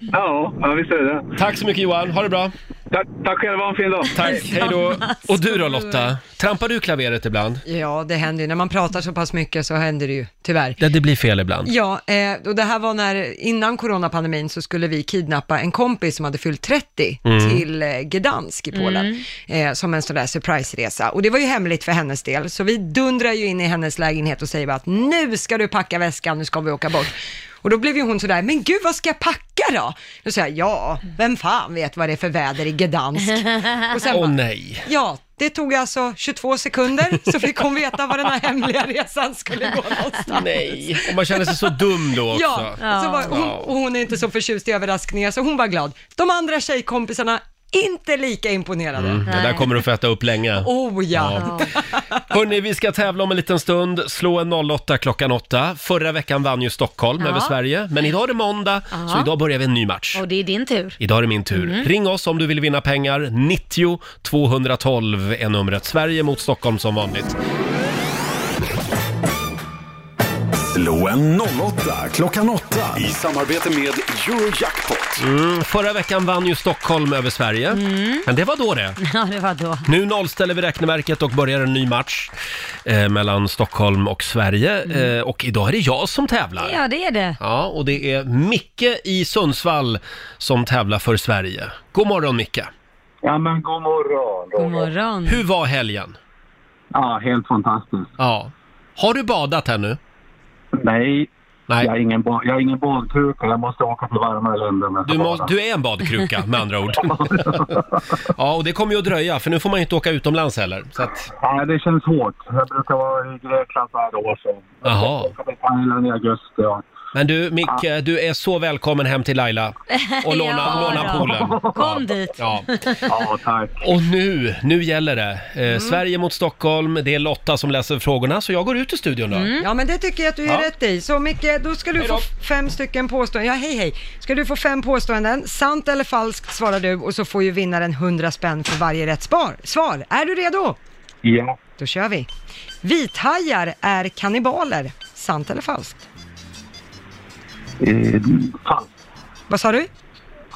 Ja, ja, visst är det Tack så mycket Johan, ha det bra. Tack, tack själva, ha en fin dag. Tack, hej då. Och du då Lotta, trampar du klaveret ibland? Ja, det händer ju. När man pratar så pass mycket så händer det ju, tyvärr. Ja, det blir fel ibland. Ja, eh, och det här var när, innan coronapandemin så skulle vi kidnappa en kompis som hade fyllt 30 till eh, Gdansk i Polen, eh, som en sån där surprise-resa. Och det var ju hemligt för hennes del, så vi dundrar ju in i hennes lägenhet och säger bara att nu ska du packa väskan, nu ska vi åka bort. Och då blev ju hon sådär, men gud vad ska jag packa då? Då sa jag, ja, vem fan vet vad det är för väder i Gdansk? Och sen Åh bara, nej. Ja, det tog alltså 22 sekunder så fick hon veta var den här hemliga resan skulle gå någonstans. Nej. Och man känner sig så dum då också. Ja, Ja. Så var, hon, och hon är inte så förtjust i överraskningar så hon var glad. De andra tjejkompisarna, inte lika imponerade. Det där kommer du få äta upp länge. Oh ja. Hörni, vi ska tävla om en liten stund. Slå en 08 klockan 8. Förra veckan vann ju Stockholm Ja. över Sverige, men idag är det måndag, så Ja. idag börjar vi en ny match. Och det är din tur. Idag är det min tur. Ring oss om du vill vinna pengar. 90 212 är numret. Sverige mot Stockholm som vanligt. Slå en 08 klockan 8 i samarbete med Eurojackpot. Mm, förra veckan vann ju Stockholm över Sverige, men det var då det. Ja, det var då. Nu nollställer vi räkneverket och börjar en ny match eh, mellan Stockholm och Sverige. Eh, och idag är det jag som tävlar. Ja, det är det. Ja, och det är Micke i Sundsvall som tävlar för Sverige. God morgon Micke! Ja, men god morgon. God morgon. Hur var helgen? Ja, helt fantastiskt. Ja. Har du badat här nu? Nej, Nej. Jag har ingen, ba- jag har ingen badkruka, jag måste åka till varmare länder med Du, må, Sahara. du är en badkruka med andra ord. Ja, och det kommer ju att dröja för nu får man ju inte åka utomlands heller. Så att, Nej, det känns hårt. Jag brukar vara i Grekland varje år så. Jaha. Jag kommer till Thailand i augusti. Ja. men du Micke, du är så välkommen hem till Laila och låna, Ja, låna då. poolen. Kom dit. Ja. ja, tack. Och nu, nu gäller det. Eh, Mm. Sverige mot Stockholm, det är Lotta som läser frågorna så jag går ut ur studion då. Mm. Ja, men det tycker jag att du gör Mm. Ja. rätt i. Så Micke, då ska du Hej få då. fem stycken påståenden. Ja, hej hej. Ska du få fem påståenden. Sant eller falskt svarar du och så får ju vinnaren 100 spänn för varje rätt spar. svar. Är du redo? Ja, Då kör vi. Vithajar är kannibaler. Sant eller falskt? eh, falskt. Vad sa du?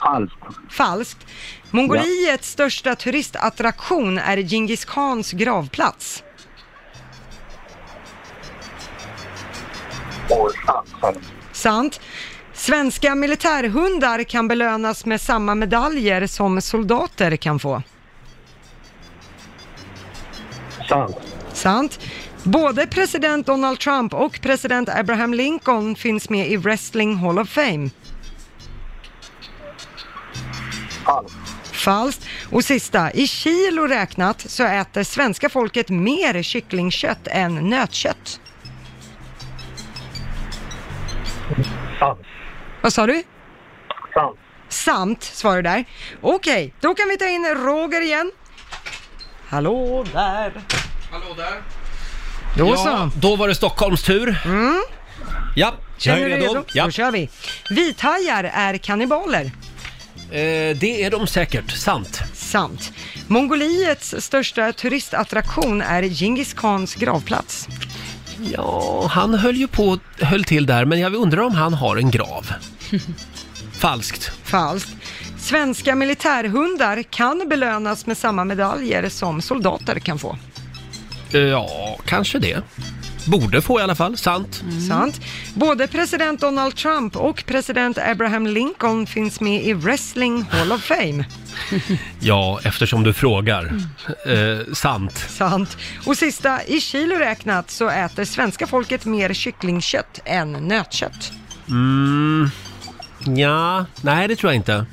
Falskt. Falskt. Mongoliets största turistattraktion är Djingis Khans gravplats. Och falskt. falskt. Sant. Svenska militärhundar kan belönas med samma medaljer som soldater kan få. Sant. Sant. Både president Donald Trump och president Abraham Lincoln finns med i Wrestling Hall of Fame. Falskt. Falskt. Och sista, i kilo räknat så äter svenska folket mer kycklingkött än nötkött. Sant. Vad sa du? Sant. Samt, svarar du där. Okej, då kan vi ta in Roger igen. Hallå där. Hallå där. Då Ja, så. Mm. då var det Stockholms tur. Ja, jag Känner är du dig redo. Ja. Då kör vi. Vithajar är kannibaler. Eh, det är de säkert, sant. Sant. Mongoliets största turistattraktion är Djingis Khans gravplats. Ja, han höll ju på, höll till där, men jag undrar om han har en grav. Falskt. Falskt. Svenska militärhundar kan belönas med samma medaljer som soldater kan få. Eh, Ja, kanske det. Borde få i alla fall, sant. Mm. Sant. Både president Donald Trump och president Abraham Lincoln finns med i Wrestling Hall of Fame. Ja, eftersom du frågar. Mm. Eh, sant. Sant. Och sista, i kilo räknat så äter svenska folket mer kycklingkött än nötkött. Ja, nej det tror jag inte.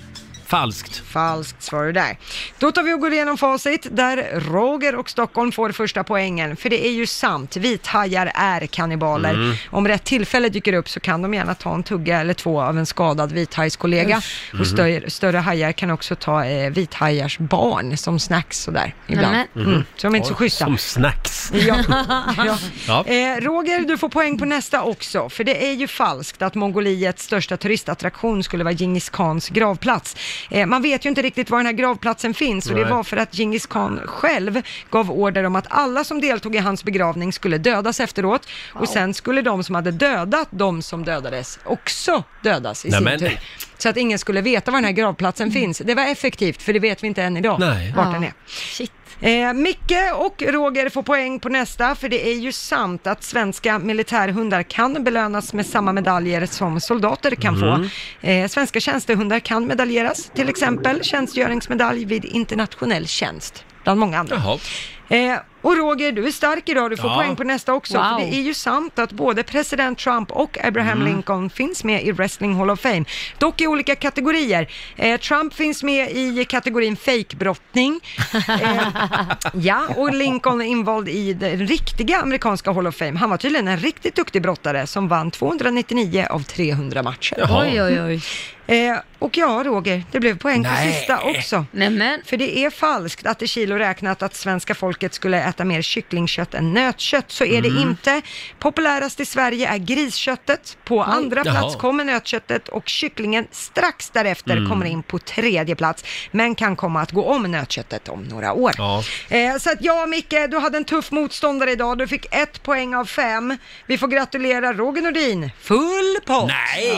Falskt. Falskt svar det där. Då tar vi och går igenom facit där Roger och Stockholm får första poängen. För det är ju sant, vithajar är kannibaler. Om rätt tillfälle dyker upp så kan de gärna ta en tugga eller två av en skadad vithajskollega. Och större, större hajar kan också ta eh, vithajars barn som snacks sådär ibland. Nämen. Mm. Så de är inte så schyssta. Som snacks. Ja. Ja. Ja. Eh, Roger, du får poäng på nästa också, för det är ju falskt att Mongoliets största turistattraktion skulle vara Djingis Khans gravplats. Eh, man vet ju inte riktigt var den här gravplatsen finns och det Nej. var för att Djingis Khan själv gav order om att alla som deltog i hans begravning skulle dödas efteråt och sen skulle de som hade dödat de som dödades också dödas i Nej, sin men- tur. Så att ingen skulle veta var den här gravplatsen finns. Det var effektivt, för det vet vi inte än idag Mm. Nej. vart Ja. den är. Shit. Eh, Micke och Roger får poäng på nästa, för det är ju sant att svenska militärhundar kan belönas med samma medaljer som soldater kan få. Eh, svenska tjänstehundar kan medaljeras, till exempel tjänstgöringsmedalj vid internationell tjänst, bland många andra. Jaha. Eh, och Roger, du är stark idag, du får Ja. poäng på nästa också. Wow. För det är ju sant att både president Trump och Abraham Mm. Lincoln finns med i Wrestling Hall of Fame, dock i olika kategorier. Eh, Trump finns med i kategorin fejkbrottning. Eh, ja, och Lincoln är invald i den riktiga amerikanska Hall of Fame. Han var tydligen en riktigt duktig brottare som vann 299 av 300 matcher. Jaha. Oj, oj, oj. Eh, och ja, Roger, det blev poäng på Nej. sista också. Nämen. För det är falskt att i kilo räknat att svenska folket skulle äta mer kycklingkött än nötkött, så är Mm. det inte. Populärast i Sverige är grisköttet, på andra Jaha. plats kommer nötköttet och kycklingen strax därefter Mm. kommer in på tredje plats, men kan komma att gå om nötköttet om några år. Ja. Eh, så att ja, Micke, du hade en tuff motståndare idag, du fick ett poäng av fem. Vi får gratulera Roger Nordin, full pott! Nej!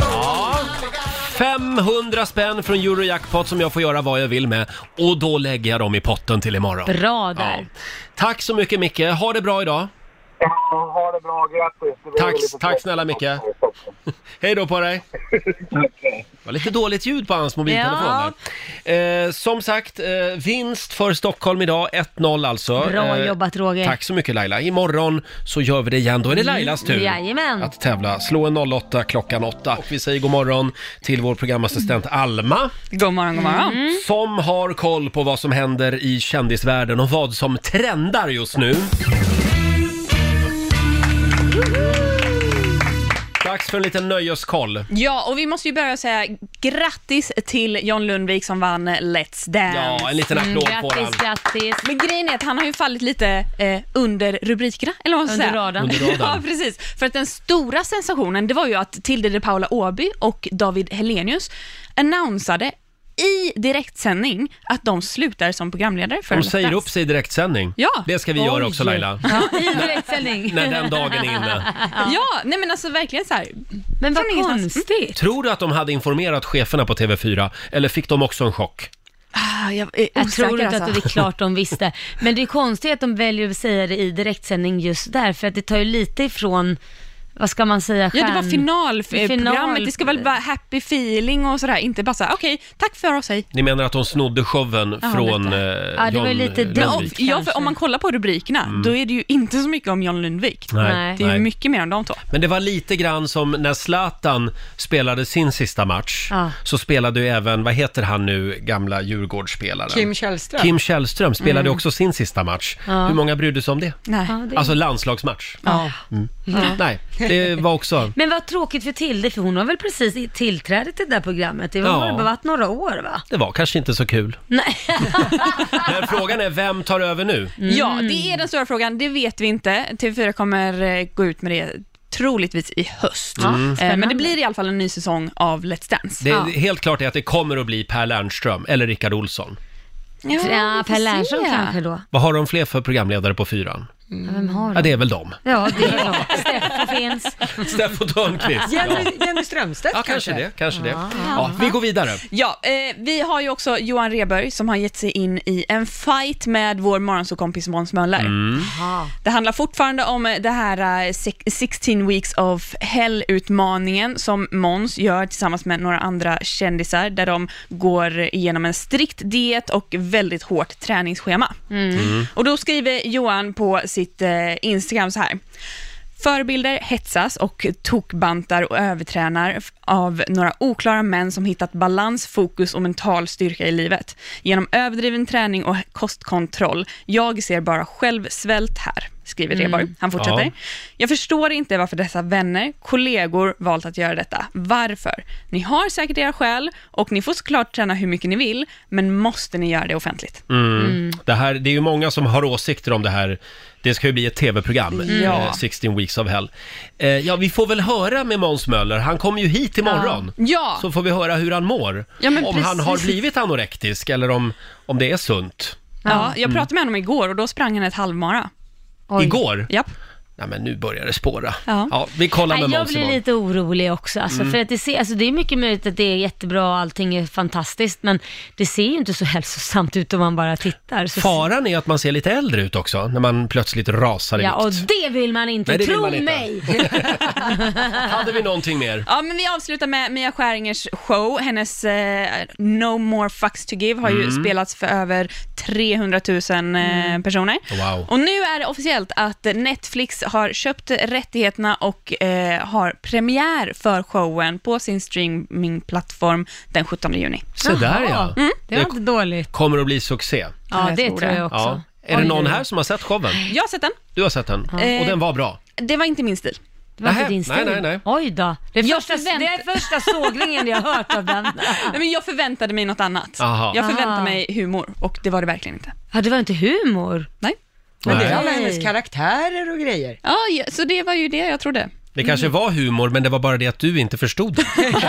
Ja. 500 spänn från Eurojackpot som jag får göra vad jag vill med och då lägger jag dem i potten till imorgon. Bra Ja. där. Tack så mycket Micke, ha det bra idag. Ja, ha det bra, grattis. Det blir Tack- lite tack trött. snälla, Micke. Hej då på dig! Det var lite dåligt ljud på hans mobiltelefon Ja. där. Eh, som sagt, eh, vinst för Stockholm idag. 1-0 alltså. Bra Eh, jobbat Roger. Tack så mycket Laila. Imorgon så gör vi det igen. Då är det Lailas tur Mm. Jajamän. att tävla. Slå en 08 klockan 8. Och vi säger god morgon till vår programassistent Mm. Alma God morgon, god morgon. som har koll på vad som händer i kändisvärlden och vad som trendar just nu. Dags för en liten nöjeskoll. Ja, och vi måste ju börja säga grattis till John Lundvik som vann Let's Dance. Ja, en liten applåd på den. Mm, Grattis, grattis. Men grejen är att han har ju fallit lite eh, under rubrikerna, eller vad man ska Under säga. radarn. Under radarn. ja, precis. För att den stora sensationen, det var ju att Tilde de Paula Åby och David Helenius annonsade i direktsändning att de slutar som programledare för De Let's säger Dance. upp sig i direktsändning. Ja. Det ska vi göra också Laila. Ja, I direktsändning. När den dagen är inne. Ja, nej men alltså verkligen så här. Men vad Från ingenstans. konstigt. Tror du att de hade informerat cheferna på TV4 eller fick de också en chock? Ah, jag är Jag osäker tror inte alltså. att det är klart de visste. Men det är konstigt att de väljer att säga det i direktsändning just där, för att det tar ju lite ifrån, vad ska man säga, Ja, det var stjärn- finalprogrammet. Final- Det ska väl vara happy feeling och sådär, inte bara såhär, okej, tack för oss, hej. Ni menar att de snodde showen från eh, Ja, det var John ju lite Lundvik? Men dumt. om, Lundvik, ja, kanske. för om man kollar på rubrikerna, då är det ju inte så mycket om John Lundvik. Nej, Det är nej. ju mycket mer om de två. Men det var lite grann som när Zlatan spelade sin sista match, Ja. så spelade ju även, vad heter han nu, gamla Djurgårdsspelaren? Kim Källström. Mm. Kim Källström spelade också sin sista match. Hur många brydde sig om det? Nej. Ja, det... Alltså landslagsmatch. Mm. Ja. Nej, det var också... Men vad tråkigt för Tilde, för hon har väl precis i- tillträde till det där programmet. Det har Ja. bara varit några år va? Det var kanske inte så kul. Nej. Men frågan är, vem tar över nu? Mm. Ja, det är den stora frågan. Det vet vi inte. TV4 kommer eh, gå ut med det troligtvis i höst. Mm. Eh, Men det spännande. blir i alla fall en ny säsong av Let's Dance. Mm. Det, Helt klart är att det kommer att bli Per Lernström eller Rickard Olsson. Eh, vi Ja, får Per Lernström se. kanske då. Vad har de fler för programledare på fyran? Ja, vem har Ja, de? det är väl de. Ja, det är de. Steffo finns. Steffo Törnqvist. Ja. Jenny, Jenny Strömstedt ja, kanske det. Kanske det. Ja, vi går vidare. Ja, eh, vi har ju också Johan Rheborg som har gett sig in i en fight med vår morgonsåkompis Måns Möller. Det handlar fortfarande om eh, det här eh, six- 16 weeks of hell-utmaningen som Måns gör tillsammans med några andra kändisar där de går igenom en strikt diet och väldigt hårt träningsschema. Och då skriver Johan på sitt eh, Instagram så här. Förebilder hetsas och tokbantar och övertränar f- av några oklara män som hittat balans, fokus och mental styrka i livet. Genom överdriven träning och kostkontroll. Jag ser bara själv svält här, skriver Rheborg. Han fortsätter. Ja. Jag förstår inte varför dessa vänner, kollegor, valt att göra detta. Varför? Ni har säkert era skäl och ni får såklart träna hur mycket ni vill, men måste ni göra det offentligt? Det, här, det är ju många som har åsikter om det här. Det ska ju bli ett tv-program, Ja. eh, 16 Weeks of Hell. Eh, ja, vi får väl höra med Måns Möller. Han kommer ju hit imorgon. Ja. Så får vi höra hur han mår. Ja, men om precis. han har blivit anorektisk eller om, om det är sunt. Ja, jag pratade med honom igår och då sprang han ett halvmara. Oj. Igår? Japp. Nej, men nu börjar det spåra. Ja. vi kollar Nej, med jag Måns blir imorgon. lite orolig också. Alltså, för att det, ser, alltså, det är mycket möjligt att det är jättebra och allting är fantastiskt, men det ser ju inte så hälsosamt ut om man bara tittar. Så Faran är att man ser lite äldre ut också, när man plötsligt rasar i Ja, och vikt. det vill man inte. Nej, det vill Tro man inte. mig! Hade vi någonting mer? Ja, men vi avslutar med Mia Skäringers show. Hennes eh, No More Fucks To Give har ju spelats för över 300 000 eh, personer. Wow. Och nu är det officiellt att Netflix har köpt rättigheterna och eh, har premiär för showen på sin streamingplattform den 17 juni. Så där ja. Det var inte dåligt. Kommer att bli succé. Mm. Ja, jag det tror tror det. jag också. Ja. Är det Oj, någon oj, oj. här som har sett showen? Jag har sett den. Du har sett den? Och den var bra? Det var inte min stil. Det var Nähä, inte din stil. nej, nej, nej. Oj då. Det är, Jag första, förvänt- det är första sågningen jag har hört av den. Nej, men jag förväntade mig något annat. Aha. Jag Ah. förväntade mig humor och det var det verkligen inte. Ja, det var inte humor. Nej. Men det är alla Nej. hennes karaktärer och grejer. Ja, ja, så det var ju det jag trodde. Det kanske Mm. var humor, men det var bara det att du inte förstod det. I så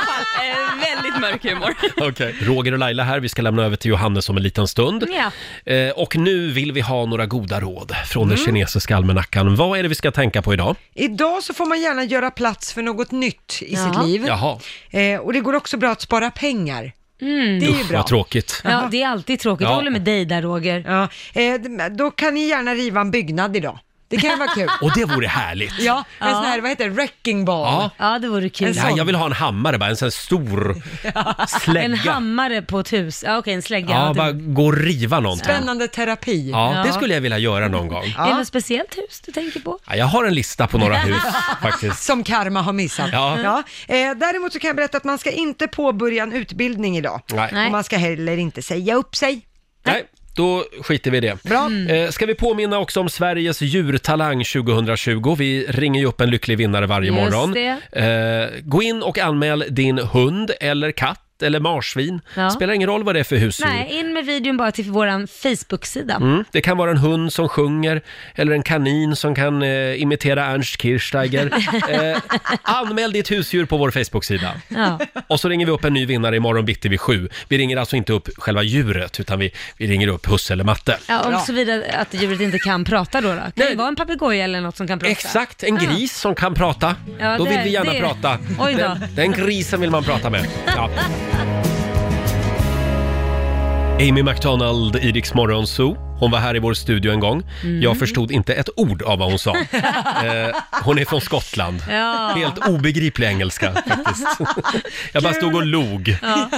fall, eh, väldigt mörk humor. okay. Roger och Laila här, vi ska lämna över till Johannes om en liten stund. Eh, och nu vill vi ha några goda råd från Mm. den kinesiska almanackan. Vad är det vi ska tänka på idag? Idag så får man gärna göra plats för något nytt i Jaha. sitt liv. Jaha, Eh, och det går också bra att spara pengar. Det är ju bra. vad tråkigt. Ja, det är alltid tråkigt. Ja. Jag håller med dig där Roger. Ja, eh, d- då kan ni gärna riva en byggnad idag. Det kan ju vara kul. Och det vore härligt. Ja, en Ja. sån här, vad heter det, wrecking ball. Ja. det vore kul. Ja, jag vill ha en hammare bara, en sån här stor slägga. En hammare på ett hus. Ja, okej, en slägga. Ja, det- bara gå och riva någonting. typ. Spännande terapi. Ja, det skulle jag vilja göra någon gång. Är det något speciellt hus du tänker på? Ja, jag har en lista på några hus faktiskt. Som karma har missat. Ja. Eh, däremot så kan jag berätta att man ska inte påbörja en utbildning idag. Nej. Nej. Och man ska heller inte säga upp sig. Nej, då skiter vi i det. Bra. Mm. Eh, ska vi påminna också om Sveriges djurtalang 2020? Vi ringer ju upp en lycklig vinnare varje Just morgon. Eh, gå in och anmäl din hund eller katt eller marsvin. Ja. Spelar ingen roll vad det är för husdjur. Nej, in med videon bara till vår Facebook-sida. Mm. Det kan vara en hund som sjunger eller en kanin som kan eh, imitera Ernst Kirchsteiger. Eh, anmäl ditt husdjur på vår Facebook-sida. Ja. Och så ringer vi upp en ny vinnare imorgon bitti vid sju. Vi ringer alltså inte upp själva djuret, utan vi, vi ringer upp husse eller matte. Ja, om såvida att djuret inte kan prata då. då. Kan det vara en papegoja eller något som kan prata? Exakt, en Ja. gris som kan prata. Ja, då det- vill vi gärna det- prata. Oj då. Den, den grisen vill man prata med. Ja. Amy McDonald i Rix Morgon Zoo. Hon var här i vår studio en gång. Mm. Jag förstod inte ett ord av vad hon sa. Eh, hon är från Skottland. Ja. Helt obegriplig engelska faktiskt. Jag bara stod och log. Ja.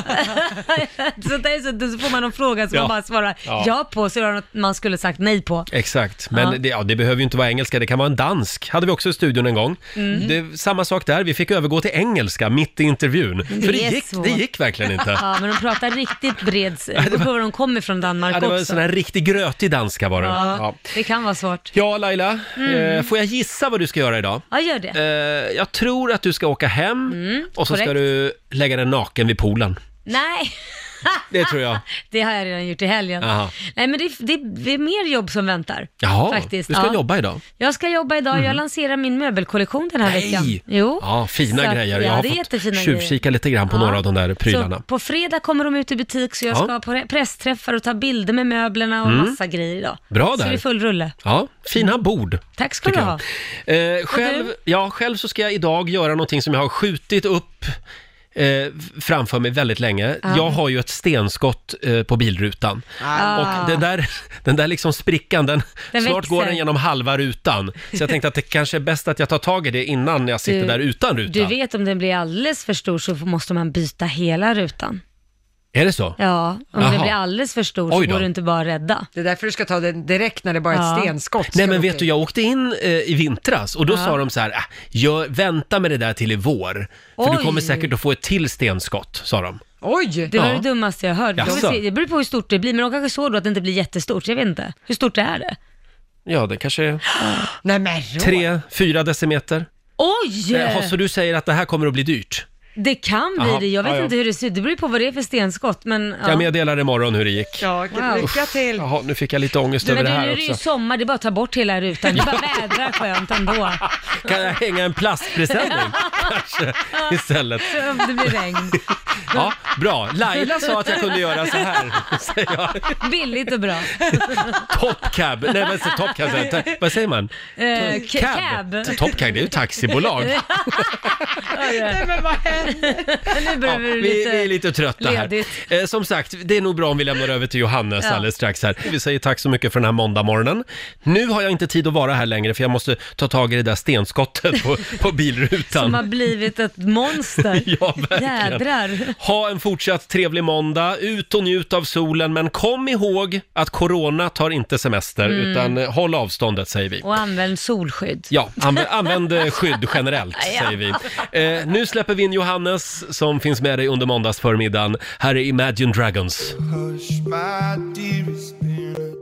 så, det är så, så får man någon fråga som Ja. man bara svarar Ja. ja, på, så är det något man skulle sagt nej på. Exakt, men Ja. Det, ja, det behöver ju inte vara engelska, det kan vara en dansk. Hade vi också i studion en gång. Mm. Det, samma sak där, vi fick övergå till engelska mitt i intervjun. För det är gick, svårt. det gick verkligen inte. Ja, men de pratar riktigt bred... Det beror på var de kommer från Danmark Ja, det var en också. sån här riktig grötig danska var det. ja, Ja. Det kan vara svårt. Ja, Laila, Mm. eh, får jag gissa vad du ska göra idag? Ja, gör det. Eh, jag tror att du ska åka hem Mm, och så ska korrekt. du lägga dig naken vid poolen. Nej, Det tror jag. det har jag redan gjort i helgen. Aha. Nej, men det, det, det är mer jobb som väntar. Jaha, faktiskt. du ska ja. jobba idag. Jag ska jobba idag. Mhm. Jag lanserar min möbelkollektion den här veckan. Jo. Ja, fina Så att- grejer. ja, jag har det är jättefina fått grejer. tjuvkika lite grann på Ja. några av de där prylarna. Så på fredag kommer de ut i butik så jag Ja. ska på re- pressträffar och ta bilder med möblerna och Mm. massa grejer idag. Bra Så där. det är full rulle. Ja, fina bord. Tack ska du tycker ha. jag. Eh, själv, du? ja, själv så ska jag idag göra någonting som jag har skjutit upp eh, framför mig väldigt länge. Ja. Jag har ju ett stenskott eh, på bilrutan. Ah. Och den där, den där liksom sprickan, den, Den snart växer. går den genom halva rutan. Så jag tänkte att det kanske är bäst att jag tar tag i det innan jag sitter Du- där utan rutan. Du vet om den blir alldeles för stor så måste man byta hela rutan. Är det så? Ja, om Jaha. den blir alldeles för stor Oj då. så går det inte bara att rädda. Det är därför du ska ta den direkt när det bara är Ja. ett stenskott. Nej Ska men du vet du, jag åkte in eh, i vintras och då Ja. sa de så här, äh, gör, vänta med det där till i vår. För du Oj. kommer säkert att få ett till stenskott, sa de. Oj! Det var Ja. det dummaste jag hörde. Jaså? Jaså. Det beror på hur stort det blir, men de kanske såg då att det inte blir jättestort. Jag vet inte. Hur stort är det? Ja, det kanske är Nej men tre, fyra decimeter. Oj! Yeah. Eh, Så du säger att det här kommer att bli dyrt? Det kan bli Jaha, det. Jag vet ja, ja. inte hur det ser ut. Det beror ju på vad det är för stenskott, men... Ja. Jag meddelar imorgon hur det gick. Ja, Wow. lycka till! Jaha, nu fick jag lite ångest Du, över men det du, nu här är det ju också. sommar, det är bara att ta bort hela rutan. Det bara vädrar skönt ändå. Kan jag hänga en plastpresenning kanske istället? Så Om det blir regn. Ja, bra. Laila sa att jag kunde göra så här, säger jag. Billigt och bra. Top cab. Nej, men så top cab. säger jag. Vad säger man? Eh, ca- cab. Top cab, det är ju ett taxibolag. Nej men vad händer? nu Ja, börjar vi vi, vi är lite... lite trötta här. ledigt. Eh, som sagt, det är nog bra om vi lämnar över till Johannes Ja. alldeles strax här. Vi säger tack så mycket för den här måndagmorgonen. Nu har jag inte tid att vara här längre för jag måste ta tag i det där stenskottet på, på Som har bilrutan. blivit ett monster. Ja, verkligen. Jädrar. Ha en fortsatt trevlig måndag, ut och njut av solen, men kom ihåg att corona tar inte semester, Mm. utan eh, håll avståndet säger vi. Och använd solskydd. Ja, anv- använd eh, skydd generellt, Ja. säger vi. Eh, nu släpper vi in Johannes som finns med dig under måndagsförmiddagen. Här är Imagine Dragons. My dearest baby,